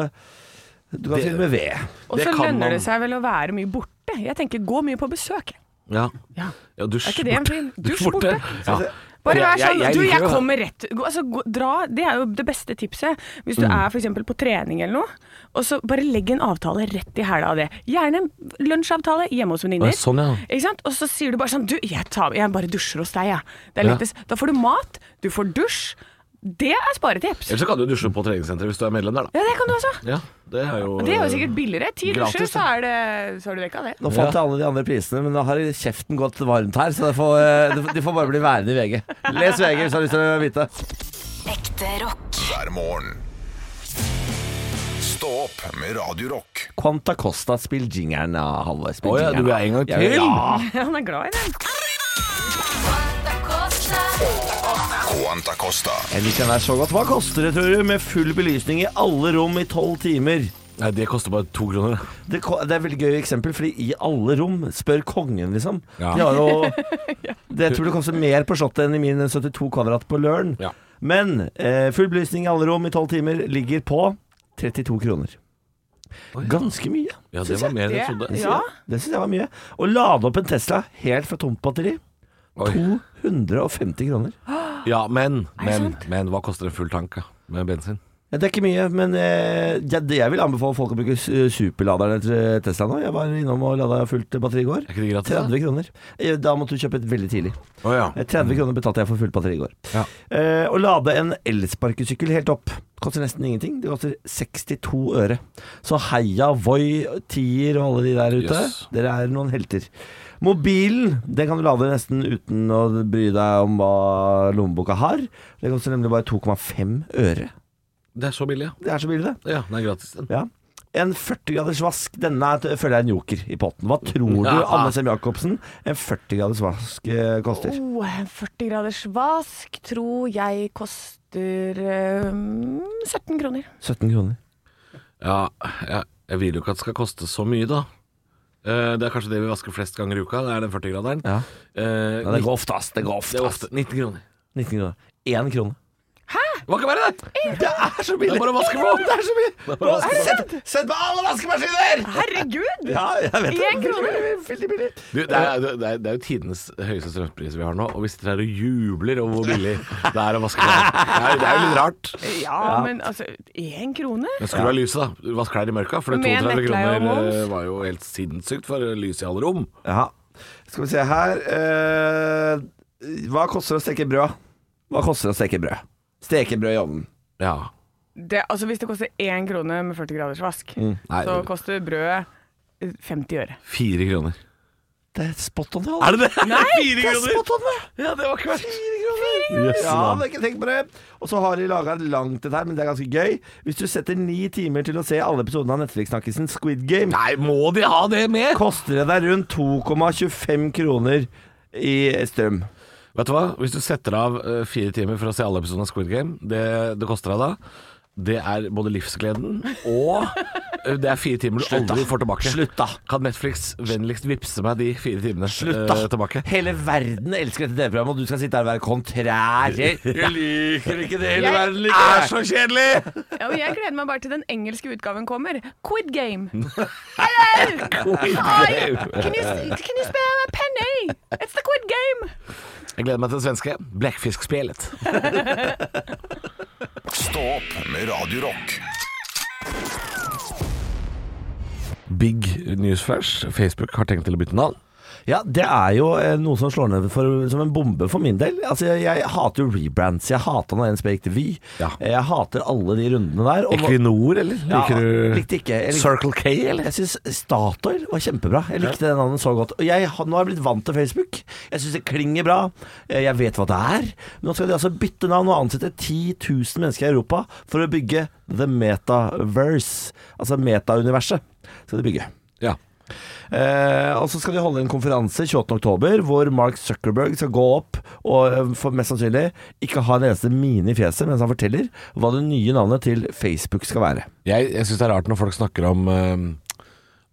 Speaker 5: du kan
Speaker 3: Det-
Speaker 5: fylle med ved.
Speaker 4: Og
Speaker 3: Det
Speaker 4: så
Speaker 3: kan
Speaker 4: lønner
Speaker 3: man.
Speaker 4: det seg vel å være mye borte. Jeg tenker gå mye på besøk.
Speaker 3: Ja.
Speaker 4: Ja.
Speaker 3: ja dusj
Speaker 4: Er ikke det en
Speaker 3: borte.
Speaker 4: fin
Speaker 3: Dusj
Speaker 4: dusj
Speaker 3: borte.
Speaker 4: borte?
Speaker 3: Ja.
Speaker 4: Bare
Speaker 3: Jeg-
Speaker 4: vær
Speaker 3: jeg-
Speaker 4: sånn
Speaker 3: jeg
Speaker 4: Du,
Speaker 3: liker
Speaker 4: jeg
Speaker 3: det, da.
Speaker 4: kommer rett gå- altså, gå, dra, Det er jo det beste tipset. Hvis du
Speaker 3: Mm.
Speaker 4: er f.eks. på trening eller noe, og så bare legg en avtale rett i hæla av det. Gjerne en lunsjavtale hjemme hos venninner.
Speaker 3: Å, sånn, ja.
Speaker 4: Ikke sant? Og så sier du bare sånn Du, jeg, tar, jeg bare dusjer hos deg, jeg. Det er
Speaker 3: Ja.
Speaker 4: lettest. Da får du mat, du får dusj. Det er sparetips.
Speaker 3: Ellers så kan du dusje på treningssenteret hvis du er medlem der, da.
Speaker 4: Ja, det kan du også.
Speaker 3: Ja, det er jo
Speaker 4: Det er jo sikkert billigere. Ti
Speaker 3: Gratis,
Speaker 4: dusjer, så er, det, så er du vekk av det.
Speaker 5: Nå fant jeg alle de andre prisene, men da har kjeften gått varmt her, så det får, eh, de- de får bare bli værende i VG. Les VG hvis du har lyst til å vite.
Speaker 1: Ekte rock.
Speaker 2: hver hver morgen. Stå opp med Radio Rock.
Speaker 5: Quanta Costa spiller jingeren av Halvor. Spill
Speaker 3: Å ja,
Speaker 5: jingeren.
Speaker 3: du er en gang
Speaker 5: Jeg vil-
Speaker 3: til?
Speaker 5: Ja.
Speaker 4: Han er glad i den.
Speaker 2: Quanta Costa.
Speaker 5: Jeg liker den der så godt. Hva koster det, tror du, med full belysning i alle rom i tolv timer?
Speaker 3: Nei, det koster bare to kroner.
Speaker 5: Det, ko- det er et veldig gøy eksempel, fordi i alle rom spør kongen, liksom.
Speaker 3: Ja.
Speaker 5: De har jo, det tror det koster mer på Slottet enn i min 72 kvadrat på Løren.
Speaker 3: Ja.
Speaker 5: Men eh, full belysning i alle rom i tolv timer ligger på 32 kroner. Ganske mye.
Speaker 3: Ja, det
Speaker 5: synes
Speaker 3: var
Speaker 5: jeg.
Speaker 3: mer enn jeg
Speaker 4: Det-
Speaker 3: trodde.
Speaker 5: Det
Speaker 4: Ja.
Speaker 5: synes jeg- Det syns jeg var mye. Å lade opp en Tesla helt fra tomt batteri,
Speaker 3: Oi.
Speaker 5: 250 kroner.
Speaker 3: Ja, men,
Speaker 4: det
Speaker 3: men, men hva koster en full tank da, med bensin?
Speaker 5: Ja, Det er ikke mye, men eh, ja, det jeg vil anbefale folk å bruke su- superladeren til Tesla nå. Jeg var innom og lada fullt batteri i går.
Speaker 3: Er ikke det gratis?
Speaker 5: 30 kroner. Eh, Da måtte du kjøpe et veldig tidlig.
Speaker 3: Å ja.
Speaker 5: Eh, 30 kroner betalte jeg for fullt batteri i går.
Speaker 3: Ja.
Speaker 5: Eh, å lade en elsparkesykkel helt opp koster nesten ingenting. Det koster 62 øre. Så heia Voi, Tier og alle de der ute.
Speaker 3: Jøss.
Speaker 5: Dere er noen helter. Mobilen den kan du lade nesten uten å bry deg om hva lommeboka har. Det koster nemlig bare 2,5 øre.
Speaker 3: Det er så billig, ja.
Speaker 5: Det er så billig, det.
Speaker 3: Ja, det er gratis den.
Speaker 5: Ja. En 40-graders vask, denne er, føler jeg er en joker i potten. Hva tror du,
Speaker 3: Ja.
Speaker 5: Anne Sem Jacobsen, en 40-graders vask eh, koster?
Speaker 4: Oh, en 40 graders vask tror jeg koster um, 17 kroner.
Speaker 5: 17 kroner.
Speaker 3: Ja, jeg, jeg vil jo ikke at det skal koste så mye, da. Eh, Det er kanskje det vi vasker flest ganger i uka. Det er den 40-graderen.
Speaker 5: Ja.
Speaker 3: Eh,
Speaker 5: Ja, det går ofte, ass. Det går ofte.
Speaker 3: det er
Speaker 5: ass.
Speaker 3: ofte 19 kroner.
Speaker 5: 19 kroner. Én krone.
Speaker 3: Hva kan være det?
Speaker 5: Det er så billig!
Speaker 3: Det er bare å vaske på.
Speaker 5: Det er så billig!
Speaker 3: er bare å vaske på.
Speaker 5: Sett, sett på alle vaskemaskiner!
Speaker 4: Herregud!
Speaker 5: Ja, jeg vet det.
Speaker 4: Én krone.
Speaker 5: Veldig, Veldig billig.
Speaker 3: Du, det, er, det, er, det er jo tidenes høyeste strømpris vi har nå, og vi sitter her og jubler over hvor billig det er å vaske klær. Det er, det er jo litt rart.
Speaker 4: Ja, men altså, én krone?
Speaker 3: Men skru av lyset, da. Vask klær i mørka. For det 32
Speaker 4: Med nettleie og
Speaker 3: kroner eh,
Speaker 4: moms.
Speaker 3: var jo helt sinnssykt for lys i alle rom.
Speaker 5: Ja. Skal vi se her eh, Hva koster det å steke brød? Hva koster det å steke brød? Steke brød i ovnen.
Speaker 3: Ja.
Speaker 4: Det, altså, hvis det koster én krone med 40 graders vask,
Speaker 3: Mm. Nei,
Speaker 4: så koster brødet 50 øre.
Speaker 3: fire kroner.
Speaker 5: Det er spot on, det.
Speaker 3: Er det det? Nei, fire
Speaker 5: Det er spot on, det!
Speaker 3: Ja, det var ikke verst.
Speaker 5: Ja, men ikke tenk på det. Og så har de laga et langt et her, men det er ganske gøy. Hvis du setter ni timer til å se alle episodene av Netflix-snakkisen Squid Game,
Speaker 3: Nei, må de ha det med?
Speaker 5: koster det deg rundt 2,25 kroner i strøm.
Speaker 3: Vet du hva, hvis du setter av eh, fire timer for å se alle episodene av Squid Game, det, det koster deg da, det er både livsgleden og eh, det er fire timer du
Speaker 5: Slutt, da.
Speaker 3: aldri får tilbake.
Speaker 5: Slutt, da.
Speaker 3: Kan Netflix vennligst vippse meg de fire timene
Speaker 5: Slutt,
Speaker 3: eh,
Speaker 5: da!
Speaker 3: tilbake?
Speaker 5: Hele verden elsker dette TV-programmet, og du skal sitte her og være kontrær. Jeg liker ikke det. Hele verden liker det.
Speaker 3: så kjedelig!
Speaker 4: Ja, og jeg gleder meg bare til den engelske utgaven kommer. Quid game. Hello! Hi! Can you, can you spare a penny? It's the quid game.
Speaker 3: Jeg gleder meg til det svenske. Blekkfiskspjelet.
Speaker 2: Stå opp med Radio Rock.
Speaker 3: Big newsflash. Facebook har tenkt til å bytte navn.
Speaker 5: Ja, det er jo eh, noe som slår ned for, som en bombe for min del. Altså, jeg, jeg hater jo rebrands. Jeg hata når en spek til Vy.
Speaker 3: Ja.
Speaker 5: Jeg hater alle de rundene der. og nå-
Speaker 3: Equinor, eller? Liker
Speaker 5: ja,
Speaker 3: du
Speaker 5: likte ikke. Jeg likte,
Speaker 3: Circle K, eller?
Speaker 5: Jeg syns Statoil var kjempebra. Jeg likte det navnet så godt. Og jeg, har- nå har jeg blitt vant til Facebook. Jeg syns det klinger bra. Eh, Jeg vet hva det er. Men nå skal de altså bytte navn og ansette 10 000 mennesker i Europa for å bygge The Metaverse. Altså metauniverset skal de bygge.
Speaker 3: Ja.
Speaker 5: Eh, og så skal de holde en konferanse 28.10 hvor Mark Zuckerberg skal gå opp og eh, for mest sannsynlig ikke ha en eneste mine i fjeset mens han forteller hva det nye navnet til Facebook skal være.
Speaker 3: Jeg, jeg syns det er rart når folk snakker om eh,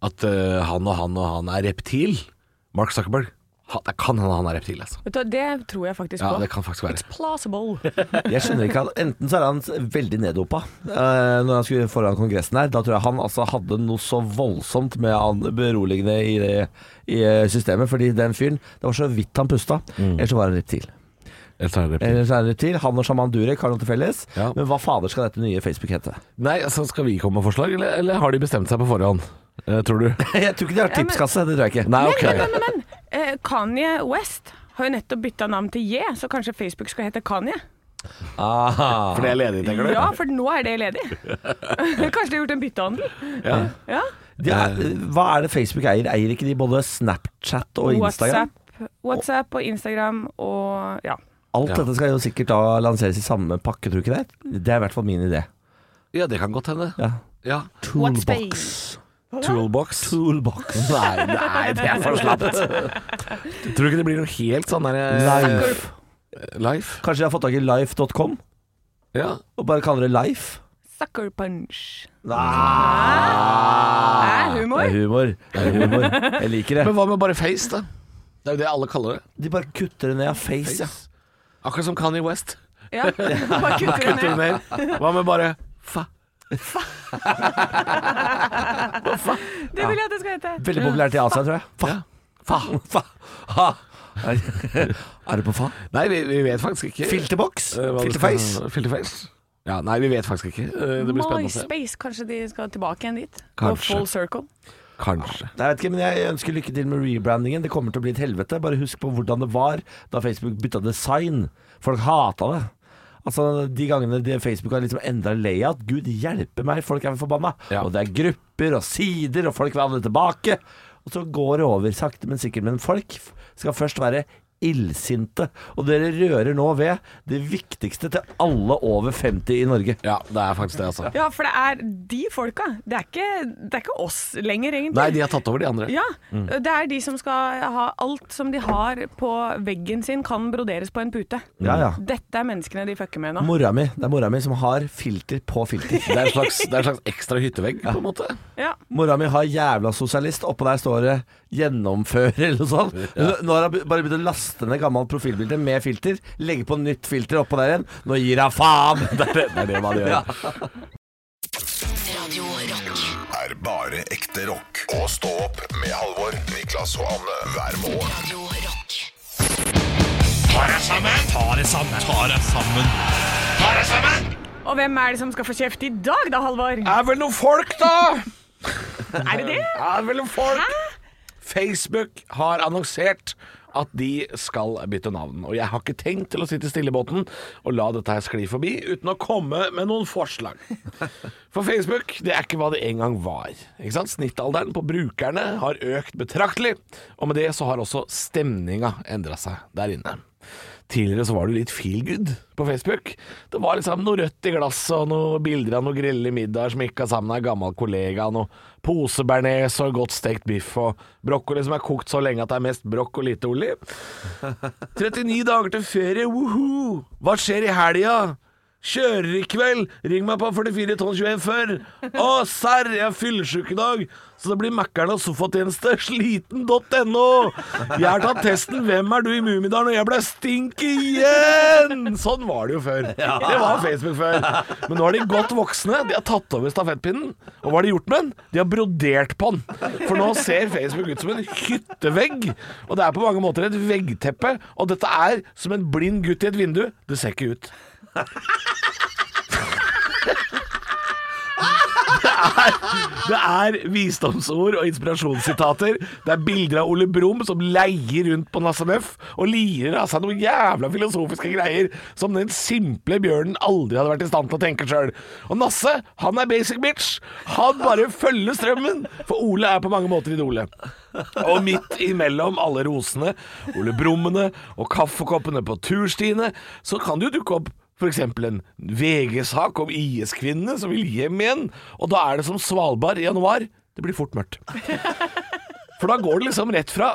Speaker 3: at eh, han og han og han er reptil. Mark Zuckerberg. Han, det kan hende han er reptil, altså.
Speaker 4: Vet du, hva, det tror jeg faktisk
Speaker 3: Ja,
Speaker 4: på.
Speaker 3: det kan faktisk være.
Speaker 4: Plausible.
Speaker 5: Jeg skjønner ikke at Enten så er han veldig neddopa eh, når han skulle foran Kongressen her. Da tror jeg han altså hadde noe så voldsomt med an- beroligende i, det- i eh, systemet. Fordi den fyren Det var så vidt han pusta.
Speaker 3: Mm.
Speaker 5: Ellers så var han reptil.
Speaker 3: Ellers er han reptil.
Speaker 5: Ellers er han reptil. Han og Shaman Durek har noe til felles.
Speaker 3: Ja.
Speaker 5: Men hva fader skal dette nye Facebook hete?
Speaker 3: Nei, altså, skal vi komme med forslag, eller, eller har de bestemt seg på forhånd? Eh, tror du?
Speaker 5: Jeg tror ikke de har tipskasse. Det tror jeg ikke.
Speaker 3: Nei,
Speaker 4: Men,
Speaker 3: ok.
Speaker 4: men, men, men, men. Eh, Kanye West har jo nettopp bytta navn til J, så kanskje Facebook skal hete Kanye.
Speaker 5: Ah.
Speaker 3: For det er ledig, tenker du?
Speaker 4: Ja, for nå er det ledig. Kanskje de har gjort en byttehandel.
Speaker 3: Ja.
Speaker 4: Ja.
Speaker 5: De er,
Speaker 3: Eh.
Speaker 5: hva er det Facebook eier? Eier ikke de både Snapchat og Instagram?
Speaker 4: WhatsApp, WhatsApp og Instagram og ja.
Speaker 5: Alt
Speaker 3: Ja.
Speaker 5: dette skal jo sikkert da lanseres i samme pakke, tror du ikke det? Det er i hvert fall min idé.
Speaker 3: Ja, det kan godt hende.
Speaker 5: Ja.
Speaker 3: Ja.
Speaker 4: Toolbox.
Speaker 3: Toolbox.
Speaker 5: Toolbox.
Speaker 3: Nei, nei, det er for slapt. Tror du ikke det blir noe helt sånn der
Speaker 5: Life.
Speaker 3: Life?
Speaker 5: Kanskje jeg har fått tak i life.com
Speaker 3: Ja.
Speaker 5: og bare kaller det Life?
Speaker 4: Sucker punch.
Speaker 5: Nei,
Speaker 4: Er
Speaker 5: det er
Speaker 4: humor?
Speaker 5: humor. Det er humor. Jeg liker det.
Speaker 3: Men hva med bare face, da? Det er jo det alle kaller det.
Speaker 5: De bare kutter det ned av face.
Speaker 3: Face, ja. Akkurat som Kanye West.
Speaker 4: Ja. Bare kutter
Speaker 3: Kutter
Speaker 4: det
Speaker 3: det
Speaker 4: ned.
Speaker 3: ned. Hva med bare fa?
Speaker 4: Det vil jeg at det skal hete.
Speaker 5: Veldig populært i Asia, tror jeg. Fa.
Speaker 3: Ja. Fa.
Speaker 5: Fa. Ha. Er du på fa?
Speaker 3: Nei, vi, vi vet faktisk ikke.
Speaker 5: Filterbox?
Speaker 3: Eh, hva det
Speaker 5: Filterface?
Speaker 3: skal- Filterface. Ja, nei, vi vet faktisk ikke. Eh, Det blir spennende å se.
Speaker 4: MySpace, kanskje de skal tilbake igjen dit?
Speaker 3: Kanskje.
Speaker 4: Og full circle.
Speaker 3: Kanskje.
Speaker 5: Nei, Jeg vet ikke, men jeg ønsker lykke til med rebrandingen. Det kommer til å bli et helvete. Bare husk på hvordan det var da Facebook bytta design. Folk hata det. Altså, De gangene de- Facebook har liksom endra layout Gud hjelpe meg, folk er forbanna.
Speaker 3: Ja.
Speaker 5: Og det er grupper og sider, og folk vil ha det tilbake. Og så går det over sakte, men sikkert. Men folk f- skal først være illsinte. Og dere rører nå ved det viktigste til alle over 50 i Norge.
Speaker 3: Ja, det er faktisk det, altså.
Speaker 4: Ja, for det er de folka. Det er ikke, det er ikke oss lenger, egentlig.
Speaker 3: Nei, de har tatt over de andre.
Speaker 4: Ja, det er de som skal ha alt som de har på veggen sin, kan broderes på en pute.
Speaker 5: Ja, ja.
Speaker 4: Dette er menneskene de fucker med nå.
Speaker 5: Mora mi, det er mora mi som har filter på filter.
Speaker 3: Det er en slags, det er en slags ekstra hyttevegg, på en måte.
Speaker 4: Ja.
Speaker 5: Mora mi har jævla sosialist. Oppå der står det 'gjennomføre' eller noe sånt. Nå har hun bare begynt å laste ned gammelt profilbilde med filter. Legge på nytt filter oppå der igjen. Nå gir hun faen! Det er det, det, er det man gjør.
Speaker 1: Radio Rock.
Speaker 2: er bare ekte rock. Og stå opp med Halvor, Niklas og Anne hver morgen.
Speaker 1: Radio Rock.
Speaker 4: Og hvem er det som skal få kjeft i dag da, Halvor?
Speaker 3: Er vel noen folk, da!
Speaker 4: Er det det?
Speaker 3: Er vel noen folk? Facebook har annonsert at de skal bytte navn. Og jeg har ikke tenkt til å sitte stille i båten og la dette her skli forbi uten å komme med noen forslag. For Facebook det er ikke hva det en gang var. Ikke sant? Snittalderen på brukerne har økt betraktelig, og med det så har også stemninga endra seg der inne. Tidligere så var det litt feel good på Facebook. Det var liksom noe rødt i glasset og noen bilder av noen grelle middager som ikke har sammen med en gammel kollega, noe posebearnés og godt stekt biff og brokkoli som er kokt så lenge at det er mest brokk og lite olje. 39 dager til ferie, woho! Hva skjer i helga? Kjører i kveld! Ring meg på 44 tonn 21 før! Å, serr, jeg er fyllesyk i dag! Så det blir Mækkern og sofatjeneste, sliten.no! Jeg har tatt testen 'Hvem er du?' i Mummidalen, og jeg ble stink igjen! Sånn var det jo før. Det var Facebook før. Men nå er de godt voksne. De har tatt over stafettpinnen. Og hva har de gjort med den? De har brodert på den. For nå ser Facebook ut som en hyttevegg. Og det er på mange måter et veggteppe. Og dette er som en blind gutt i et vindu. Det ser ikke ut. Det er visdomsord og inspirasjonssitater. Det er bilder av Ole Brumm som leier rundt på Nasse Nøff og lirer av seg noen jævla filosofiske greier som den simple bjørnen aldri hadde vært i stand til å tenke sjøl. Og Nasse, han er basic bitch. Han bare følger strømmen. For Ole er på mange måter idolet. Og midt imellom alle rosene, Ole Brummene og kaffekoppene på turstiene, så kan det jo dukke opp F.eks. en VG-sak om IS-kvinnene som vil hjem igjen. Og da er det som Svalbard i januar. Det blir fort mørkt. For da går det liksom rett fra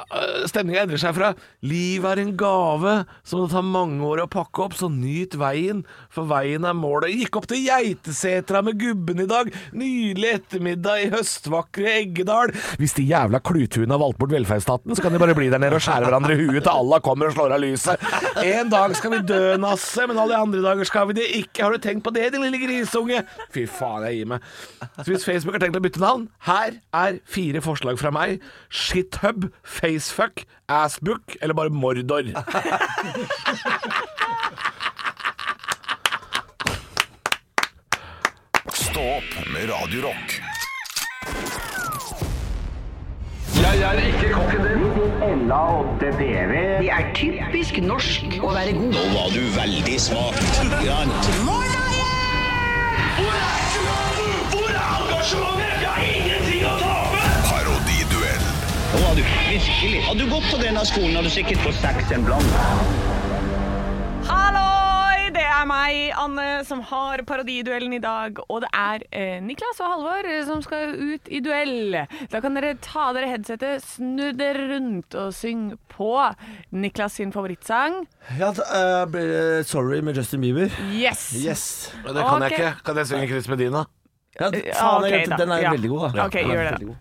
Speaker 3: Stemninga endrer seg fra 'Livet er en gave som det tar mange år å pakke opp, så nyt veien, for veien er målet'. Gikk opp til Geitesetra med gubben i dag. Nydelig ettermiddag i høstvakre Eggedal. Hvis de jævla klutuene har valgt bort velferdsstaten, så kan de bare bli der nede og skjære hverandre i huet til Allah kommer og slår av lyset. En dag skal vi dø, Nasse, men alle andre dager skal vi det ikke. Har du tenkt på det, din lille grisunge? Fy faen, jeg gir meg. Så hvis Facebook har tenkt å bytte navn, her er fire forslag fra meg. Shithub, facefuck, assbook eller bare Mordor.
Speaker 2: Stå opp med Radio Rock. Parodiduell.
Speaker 8: Nå har du virkelig Hadde du gått til denne skolen, hadde du sikkert fått seks en blant.
Speaker 4: er meg, Anne, som har parodiduellen i dag. Og det er eh, Niklas og Halvor som skal ut i duell. Da kan dere ta dere headsetet, snu dere rundt og syng på Niklas sin favorittsang.
Speaker 5: Ja, da, eh, blir det sorry med Justin Bieber.
Speaker 4: Yes!
Speaker 5: Yes.
Speaker 3: Men det kan jeg
Speaker 4: Ok.
Speaker 3: ikke. Kan jeg synge Chris Medina?
Speaker 5: Ja, faen,
Speaker 4: Ja,
Speaker 5: jeg
Speaker 4: ok,
Speaker 5: glemte-
Speaker 4: da.
Speaker 5: den er
Speaker 4: Ja.
Speaker 5: veldig god, da.
Speaker 4: Ok,
Speaker 5: Ja, den er
Speaker 4: gjør det.
Speaker 5: veldig god.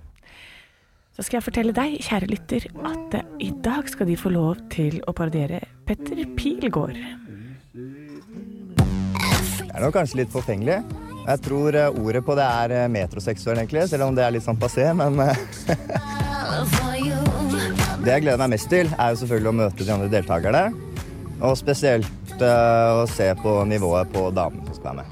Speaker 4: Så skal jeg fortelle deg, kjære lytter, at eh, i dag skal de få lov til å parodiere Petter Pilgaard.
Speaker 9: Jeg er nok kanskje litt forfengelig. Jeg tror eh, ordet på det er eh, metroseksuell, egentlig, selv om det er litt sånn passé. Men eh, det jeg gleder meg mest til, er jo selvfølgelig å møte de andre deltakerne. Og spesielt eh, å se på nivået på damene som skal være med.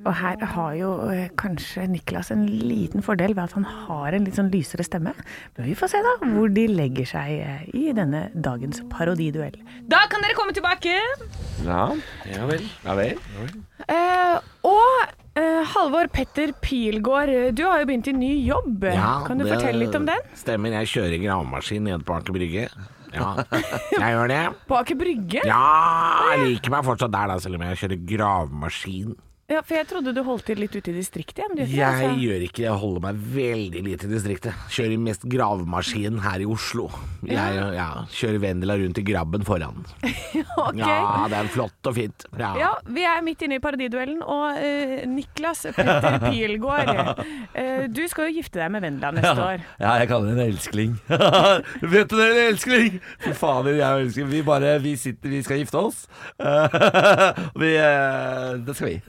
Speaker 4: Og her har jo eh, kanskje Niklas en liten fordel ved at han har en litt sånn lysere stemme. Men vi får se da hvor de legger seg eh, i denne dagens parodiduell. Da kan dere komme tilbake!
Speaker 3: Ja vel.
Speaker 4: Eh, og eh, Halvor Petter Pilgaard, eh, du har jo begynt i ny jobb. kan du fortelle litt om den?
Speaker 3: Stemmer. Jeg kjører gravemaskin nede på Aker Brygge. Ja, jeg gjør det.
Speaker 4: På Aker Brygge?
Speaker 3: Ja, jeg liker meg fortsatt der, da, selv om jeg kjører gravemaskin.
Speaker 4: Ja, for jeg trodde du holdt til litt ute i distriktet. Men du gjør ikke det,
Speaker 3: Jeg
Speaker 4: altså.
Speaker 3: gjør ikke Jeg holder meg veldig lite i distriktet. Kjører mest gravemaskin her i Oslo. Jeg ja, kjører Vendela rundt i grabben foran.
Speaker 4: Ok.
Speaker 3: Ja, det er flott og fint. Ja.
Speaker 4: Ja, vi er midt inne i parodiduellen, og eh, Niklas Petter Pilgaard, eh, du skal jo gifte deg med Vendela neste år.
Speaker 5: Ja, jeg kaller henne en elskling. Vet du det, en elskling? Fy fader, jeg er en elskling. Vi bare Vi sitter, vi skal gifte oss. vi eh, Det skal vi.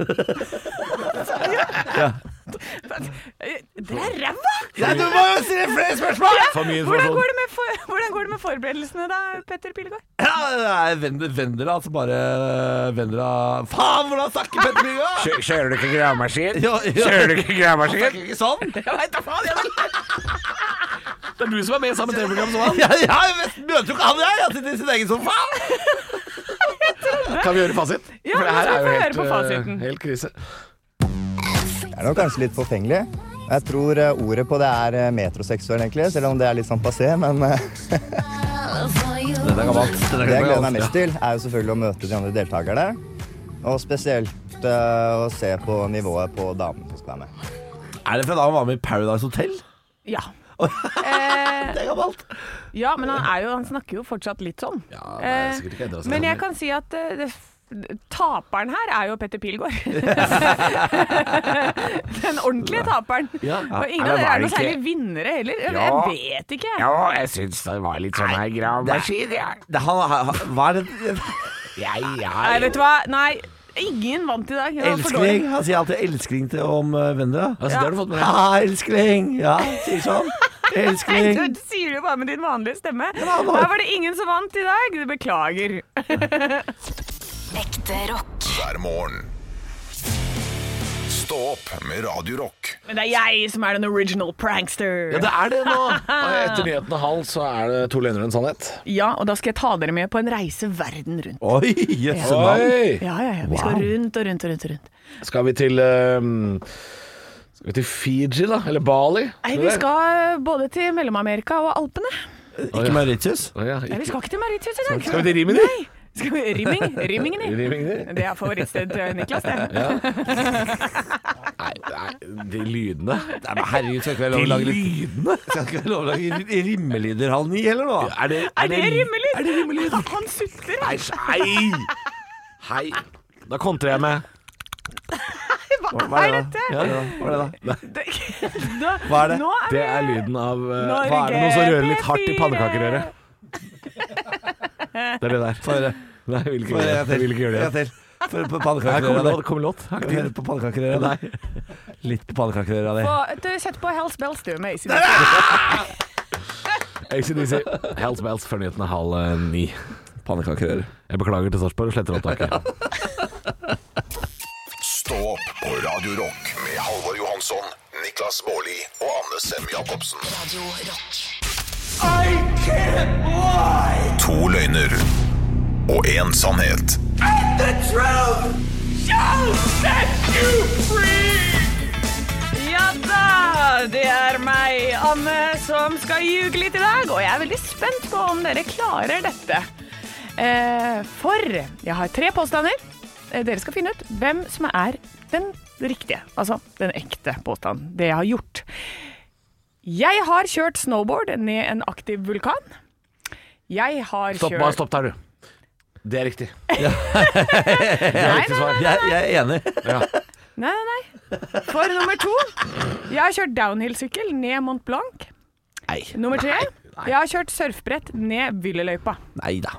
Speaker 4: Eh, Dere er ræva!
Speaker 5: Nei, du må jo stille flere spørsmål!
Speaker 3: For mye
Speaker 4: Hvordan
Speaker 3: informasjon.
Speaker 4: går, det med for, hvordan går det med forberedelsene da, Petter Pilegaard?
Speaker 5: Ja, nei, Vend- Vendela, altså bare Vendela Faen, hvordan snakker Petter Mygga?
Speaker 3: Kjø- Kjører du ikke gravemaskin?
Speaker 5: Ja, ja.
Speaker 3: Kjører du ikke gravemaskin?
Speaker 5: Snakker ikke sånn?
Speaker 3: Det er du som er med i samme TV-program som
Speaker 5: Ja, ja, jeg møter jo ikke han, jeg. Jeg sitter i sin egen sofa.
Speaker 3: Kan vi gjøre fasit?
Speaker 4: Ja,
Speaker 3: For det
Speaker 4: nå
Speaker 3: her er
Speaker 4: skal vi
Speaker 3: jo
Speaker 4: få
Speaker 3: helt,
Speaker 4: høre på
Speaker 3: eh,
Speaker 4: fasiten.
Speaker 3: helt krise.
Speaker 9: Jeg er nok kanskje litt forfengelig. Jeg tror eh, ordet på det er eh, metroseksuell, egentlig, selv om det er litt sånn passé. Men eh,
Speaker 5: Dette er gammelt. Dette er
Speaker 9: det jeg gleder meg
Speaker 5: gammelt.
Speaker 9: mest til, er jo selvfølgelig å møte de andre deltakerne. Og spesielt eh, å se på nivået på damene som skal være med.
Speaker 5: Er det fra da han var med i Paradise Hotel?
Speaker 4: Ja.
Speaker 5: Det er gammelt.
Speaker 4: ja, men han, er jo, han snakker jo fortsatt litt sånn.
Speaker 3: Ja, det er sikkert ikke endret seg.
Speaker 4: Men jeg kan si at eh, det, f- taperen her er jo Petter Pilgaard. Den ordentlige taperen. Og ingen
Speaker 3: Nei,
Speaker 4: av
Speaker 3: det
Speaker 4: dere
Speaker 3: var
Speaker 4: er noe
Speaker 3: ikke-
Speaker 4: særlig vinnere heller. Jeg,
Speaker 3: Ja.
Speaker 4: jeg vet ikke.
Speaker 3: Ja, jeg syns det var litt sånn her gravemaskin, jeg.
Speaker 5: Det, han, han, hva er det
Speaker 3: Jeg,
Speaker 4: Nei,
Speaker 3: jeg.
Speaker 4: vet du hva? Nei, ingen vant i dag. Det var for dårlig.
Speaker 5: Elskling. Han sier alltid 'elskling' til om eh, Vendela.
Speaker 3: Altså, det har du fått med deg.
Speaker 5: Ja, elskling. Ja, sier sånn.
Speaker 4: Nei,
Speaker 5: Elskling.
Speaker 4: du sier det jo bare med din vanlige stemme.
Speaker 5: da, da.
Speaker 4: Her var det ingen som vant i dag. Beklager.
Speaker 1: Ekte rock.
Speaker 2: hver morgen. Stå opp med Radio Rock.
Speaker 4: Men det er jeg som er den original prankster.
Speaker 3: Ja, det er det nå. Og etter nyhetene halv så er det to løgner og en sannhet.
Speaker 4: Ja, og da skal jeg ta dere med på en reise verden rundt.
Speaker 5: Oi, jøsse navn.
Speaker 3: Oi!
Speaker 4: Ja, ja, ja. Vi skal rundt og rundt og rundt. og rundt.
Speaker 3: Skal vi til ehm, Skal vi til Fiji, da? Eller Bali?
Speaker 4: Nei,
Speaker 3: Skal
Speaker 4: vi
Speaker 3: det?
Speaker 4: skal både til Mellom-Amerika og Alpene.
Speaker 5: Ikke Mauritius.
Speaker 3: Å, ja,
Speaker 4: Nei, vi
Speaker 3: ikke.
Speaker 4: skal ikke til Mauritius i dag.
Speaker 3: Skal vi til Rimini?
Speaker 4: Nei. Skal vi Rimming? Rimmingene.
Speaker 3: Rimini?
Speaker 4: Det er favorittsted til Niklas, det.
Speaker 3: Nei, nei, de lydene.
Speaker 5: Nei, men herregud, skal ikke være lov
Speaker 3: De
Speaker 5: å lage litt
Speaker 3: lydene?
Speaker 5: Skal ikke være lov å lage ri- rimmelyder halv ni, eller noe?
Speaker 3: Er det,
Speaker 4: Er det rimmelyd?
Speaker 3: Er det rimmelyd?
Speaker 4: Han sutter.
Speaker 3: Nei, hei! Hei. Da kontrer jeg med
Speaker 4: Hva er dette?
Speaker 5: Ja, ja, hva er det da?
Speaker 4: Da-
Speaker 5: Hva er det?
Speaker 4: Nå er
Speaker 3: Det
Speaker 4: det
Speaker 3: er lyden av eh,
Speaker 4: Norge,
Speaker 3: Hva er det noe som rører litt hardt i pannekakerøret? Det er det der.
Speaker 5: Få høre.
Speaker 3: Nei, jeg vil ikke
Speaker 5: Få høre
Speaker 3: gjøre
Speaker 5: en
Speaker 3: det. Jeg vil
Speaker 5: til.
Speaker 3: ikke gjøre
Speaker 5: En
Speaker 3: det.
Speaker 5: til. Få
Speaker 3: Her
Speaker 5: høre på
Speaker 3: kommer
Speaker 5: pannekakerøra
Speaker 3: låt.
Speaker 5: di.
Speaker 3: Kommer låt. Har ikke
Speaker 5: Hør på pannekakerøra di. Litt på pannekakerøra di.
Speaker 4: Og, du, Sett på Hells Bells, du, med ACDC.
Speaker 3: ACDC. Hells Bells før nyhetene halv eh, ni.
Speaker 5: Pannekakerøre.
Speaker 3: Jeg beklager til Sarpsborg og sletter opptaket.
Speaker 2: Stå opp på Radio Rock med Halvor Johansson, Niklas Baarli og Anne Sem Jacobsen.
Speaker 1: Radio Rock.
Speaker 2: To løgner og én sannhet.
Speaker 4: Ja da! Det er meg, Anne, som skal ljuge litt i dag. Og jeg er veldig spent på om dere klarer dette. Eh, Eh, for jeg har tre påstander. Eh, Dere skal finne ut hvem som er den riktige. Altså den ekte påstanden. Det jeg har gjort. Jeg har kjørt snowboard ned en aktiv vulkan. Jeg har
Speaker 3: Stopp,
Speaker 4: kjørt
Speaker 3: bare stopp der, du. Det er riktig.
Speaker 4: Nei, nei, nei.
Speaker 5: Jeg, jeg er enig.
Speaker 4: Nei, nei, nei. For nummer to Jeg har kjørt downhill-sykkel ned Mont Blanc.
Speaker 5: Nei.
Speaker 4: Nummer tre Jeg har kjørt surfbrett ned Villeløypa.
Speaker 5: Nei da.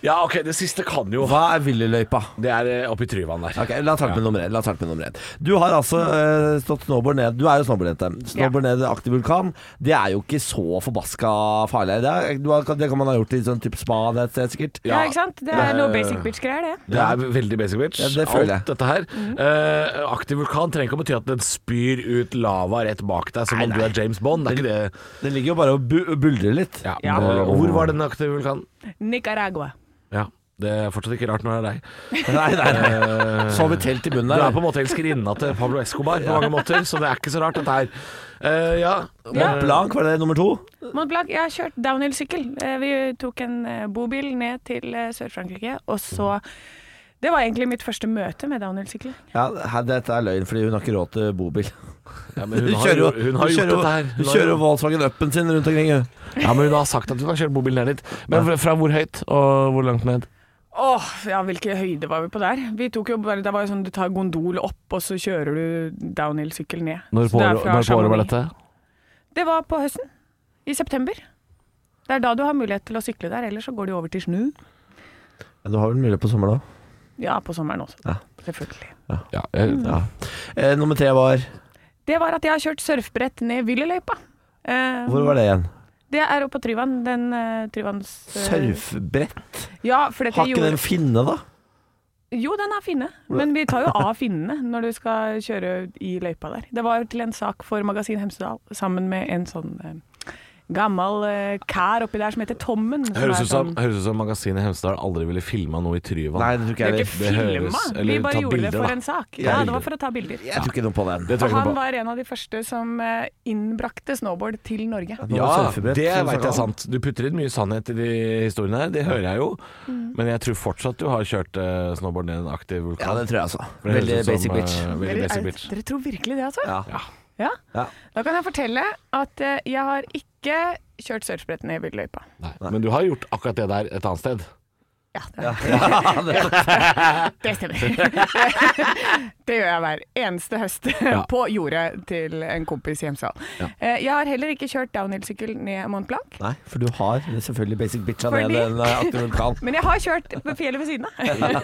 Speaker 3: Ja, ok, det siste kan jo
Speaker 5: Hva er villeløypa?
Speaker 3: Det er eh, oppe i Tryvann der.
Speaker 5: Ok, La oss starte med nummer én. La oss starte med nummer én. Du har altså eh, stått snowboard ned Du er jo snowboardjente. Snowboard ned i en aktiv vulkan, det er jo ikke så forbaska farlig. Det, er, du har, det kan man ha gjort i sånn type spa det et sted, sikkert.
Speaker 4: Ja, ikke sant? Det er noe basic bitch-greier, det.
Speaker 3: Det er veldig basic bitch.
Speaker 5: Ja, det føler jeg.
Speaker 3: Alt dette her.
Speaker 4: Mhm.
Speaker 3: Eh, aktiv vulkan trenger ikke å bety at den spyr ut lava rett bak deg, som om du er James Bond. Det er ikke det.
Speaker 5: Det ligger jo bare og bu buldrer litt.
Speaker 3: Ja.
Speaker 4: Ja.
Speaker 3: Eh, Hvor var den aktive vulkanen?
Speaker 4: Nicaragua.
Speaker 3: Ja. Det er fortsatt ikke rart når det er deg.
Speaker 5: Nei, nei, nei. Sov et telt i bunnen
Speaker 3: Du
Speaker 5: der.
Speaker 3: er på en måte elskerinna til Pablo Escobar på mange måter, så det er ikke så rart, dette her. Eh, ja.
Speaker 5: Mont Blanc, var det nummer to?
Speaker 4: Mont Blanc, jeg har kjørt downhill-sykkel. Eh, Vi tok en eh, bobil ned til eh, Sør-Frankrike, og så Det var egentlig mitt første møte med downhill-sykkel.
Speaker 5: Ja, her, Dette er løgn, fordi hun har ikke råd til bobil.
Speaker 3: ja, men
Speaker 5: Hun
Speaker 3: hun har,
Speaker 5: kjører jo
Speaker 3: jo- hun har
Speaker 5: hun
Speaker 3: gjort
Speaker 5: kjører jo-
Speaker 3: dette her.
Speaker 5: Hun
Speaker 3: har
Speaker 5: kjører
Speaker 3: jo-
Speaker 5: jo Volkswagen Upen sin rundt omkring. hun.
Speaker 3: Ja, men hun har sagt at hun har kjørt mobilen ned dit. Men fra- fra hvor høyt og hvor langt ned?
Speaker 4: Åh, ja, hvilken høyde var vi på der? Vi tok jo bare, Det var jo sånn du tar gondol opp, og så kjører du downhill-sykkel ned.
Speaker 3: Når
Speaker 4: Så
Speaker 3: på
Speaker 4: det er
Speaker 3: året
Speaker 4: fra
Speaker 3: når på året var
Speaker 4: Chamonix.
Speaker 3: dette?
Speaker 4: Det var på høsten. I september. Det er da du har mulighet til å sykle der, ellers så går det jo over til snø.
Speaker 5: Ja, Du har vel mulighet på sommer da?
Speaker 4: Ja, på sommeren også.
Speaker 5: Ja.
Speaker 4: Selvfølgelig.
Speaker 3: Ja, jeg,
Speaker 4: Mm.
Speaker 5: Ja. Eh, nummer tre var
Speaker 4: Det var at jeg har kjørt surfbrett ned Villeløypa. Eh,
Speaker 5: Hvor var det igjen?
Speaker 4: Det er oppe på Tryvann. Den eh, Tryvanns eh,
Speaker 5: Surfbrett?
Speaker 4: Ja, for dette
Speaker 5: Har ikke
Speaker 4: gjorde
Speaker 5: den finne, da?
Speaker 4: Jo, den er finne. Men vi tar jo av finnene når du skal kjøre i løypa der. Det var til en sak for Magasin Hemsedal sammen med en sånn eh, gammel eh, kær oppi der som heter Tommen. som
Speaker 3: Høres
Speaker 4: er
Speaker 3: ut som,
Speaker 4: sånn-
Speaker 3: høres ut som magasinet Hemsedal aldri ville filma noe i Tryvann.
Speaker 5: Nei, det tror ikke
Speaker 4: Det er jo ikke
Speaker 5: jeg heller.
Speaker 3: det
Speaker 4: filma,
Speaker 3: høres-
Speaker 4: vi
Speaker 3: eller ta
Speaker 4: bare gjorde det
Speaker 3: bilder,
Speaker 4: for
Speaker 3: da.
Speaker 4: en sak.
Speaker 5: Ja,
Speaker 4: Ja, det var
Speaker 5: bilder.
Speaker 4: for å ta bilder.
Speaker 5: Jeg tror ikke noe på den.
Speaker 3: Det
Speaker 4: Og
Speaker 3: tror jeg
Speaker 4: han
Speaker 3: ikke noe på.
Speaker 4: var en av de første som eh, innbrakte snowboard til Norge.
Speaker 5: det
Speaker 3: Ja,
Speaker 5: var
Speaker 3: det
Speaker 5: surfebrett, som vi
Speaker 3: veit
Speaker 5: snakket
Speaker 3: jeg
Speaker 5: om.
Speaker 3: er sant. Du putter inn mye sannhet i de historiene her, det hører jeg jo.
Speaker 4: Mm.
Speaker 3: Men jeg tror fortsatt du har kjørt eh, snowboard ned en aktiv
Speaker 5: Ja,
Speaker 3: vulkan.
Speaker 5: det tror jeg altså.
Speaker 3: For det
Speaker 5: Veldig
Speaker 3: høres ut som,
Speaker 5: basic bitch.
Speaker 3: eh, veldig
Speaker 4: Dere,
Speaker 3: basic
Speaker 4: er,
Speaker 3: bitch.
Speaker 4: dere tror virkelig det, altså?
Speaker 5: Ja.
Speaker 4: Ja.
Speaker 5: Ja.
Speaker 4: Da kan jeg fortelle at eh, jeg har ikke kjørt surfbrett ned Villeløypa.
Speaker 3: Nei. Men du har gjort akkurat det der et annet sted.
Speaker 4: Ja, det, er- det stemmer. det gjør jeg hver eneste høst på jordet til en kompis i Hemsedal. Eh, Jeg har heller ikke kjørt downhill-sykkel ned Mont Blanc.
Speaker 5: Nei, for du har selvfølgelig basic bitcha
Speaker 4: Fordi-
Speaker 5: ned en eh, aktiv vulkan.
Speaker 4: Men jeg har kjørt på fjellet ved siden av.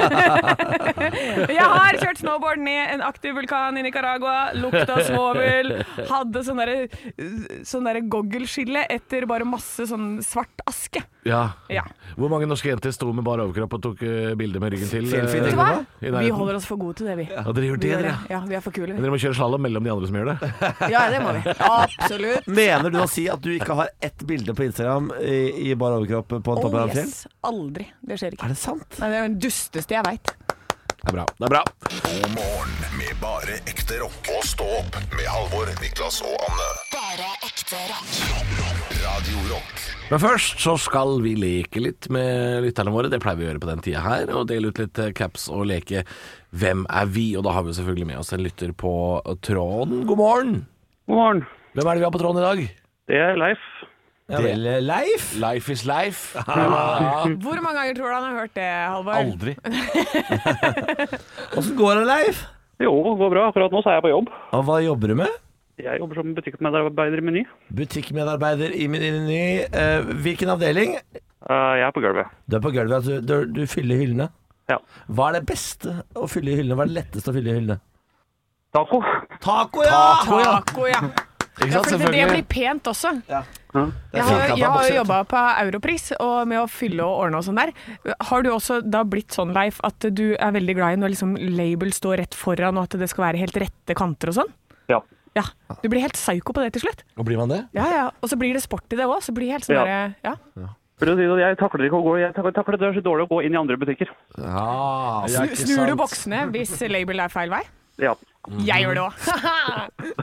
Speaker 4: jeg har kjørt snowboard ned en aktiv vulkan i Nicaragua, lukta svovel, hadde sånn derre sånn der goggelskille etter bare masse sånn svart aske.
Speaker 3: Ja.
Speaker 4: Ja.
Speaker 3: Hvor mange norske jenter sto med bare overkropp og tok eh, bilder med ryggen til?
Speaker 5: Selfie,
Speaker 3: eh,
Speaker 4: Vet
Speaker 5: tenker du
Speaker 4: du hva?
Speaker 3: i
Speaker 4: Vi
Speaker 3: nærheten?
Speaker 4: holder oss for gode til det, vi.
Speaker 3: Ja, dere gjør
Speaker 4: Vi
Speaker 3: det,
Speaker 4: gjør
Speaker 3: dere.
Speaker 4: det. Ja, vi er for kule,
Speaker 3: Men
Speaker 4: vi.
Speaker 3: dere må kjøre slalåm mellom de andre som gjør det.
Speaker 4: Ja, det må vi. Absolutt.
Speaker 5: Mener du å si at du ikke har ett bilde på Instagram i, i bar overkropp på en topp
Speaker 4: Oh
Speaker 5: av en fjell?
Speaker 4: yes. Aldri. Det skjer ikke.
Speaker 5: Er det sant?
Speaker 4: Nei, det er den dusteste jeg veit.
Speaker 3: Det er bra. Det er bra.
Speaker 2: God morgen med bare ekte rock. Og stå opp med Halvor, Niklas og Anne.
Speaker 10: Bare ekte rock.
Speaker 2: Radio Rock
Speaker 3: Men først så skal vi leke litt med lytterne våre. Det pleier vi å gjøre på den tida her. Og dele ut litt eh, caps og leke Hvem er vi? Og da har vi selvfølgelig med oss en lytter på tråden. God morgen!
Speaker 8: God morgen.
Speaker 3: Hvem er det vi har på tråden i dag?
Speaker 8: Det er Leif.
Speaker 5: Ja vel, Leif?
Speaker 3: Life is life.
Speaker 4: Hvor mange ganger tror du han har hørt det, Halvor?
Speaker 3: Aldri.
Speaker 5: Åssen går det, Leif?
Speaker 8: Jo, det går bra. Akkurat nå så er jeg på jobb.
Speaker 5: Og hva jobber du med?
Speaker 8: Jeg jobber som butikkmedarbeider i Meny.
Speaker 5: Butikkmedarbeider i Meny. Eh, hvilken avdeling?
Speaker 8: Eh, Jeg er på gulvet.
Speaker 5: Du er på gulvet, altså, du, du fyller hyllene.
Speaker 8: Ja.
Speaker 5: Hva er det beste å fylle i hyllene? Hva er det letteste å fylle i hyllene?
Speaker 8: Taco.
Speaker 5: Taco, ja!
Speaker 4: Taco, ja.
Speaker 3: Ikke
Speaker 4: Ja,
Speaker 3: sant?
Speaker 4: for det, det blir
Speaker 3: Selvfølgelig.
Speaker 4: pent også.
Speaker 5: er
Speaker 4: Jeg har,
Speaker 5: fint at
Speaker 4: jeg
Speaker 5: han
Speaker 4: har
Speaker 5: bokser,
Speaker 4: jo
Speaker 5: vet du.
Speaker 4: jobba på Europris og med å fylle og ordne og sånn der. Har du også da blitt sånn, Leif, at du er veldig glad i når liksom label står rett foran og at det skal være helt rette kanter og sånn?
Speaker 8: Ja.
Speaker 4: Ja. Du blir helt psyko på det til slutt.
Speaker 3: Og blir man det?
Speaker 4: Ja, ja. Og så blir det sport i det òg. Så blir det helt sånn
Speaker 8: Ja.
Speaker 4: derre ja.
Speaker 8: For å si det, sånn, jeg takler ikke å gå. Jeg takler, takler det er så dårlig å gå inn i andre butikker.
Speaker 5: Ja,
Speaker 3: Ah,
Speaker 4: Snu- Snur du boksene hvis label er feil vei?
Speaker 8: Ja.
Speaker 3: Mhm.
Speaker 4: Jeg gjør det òg.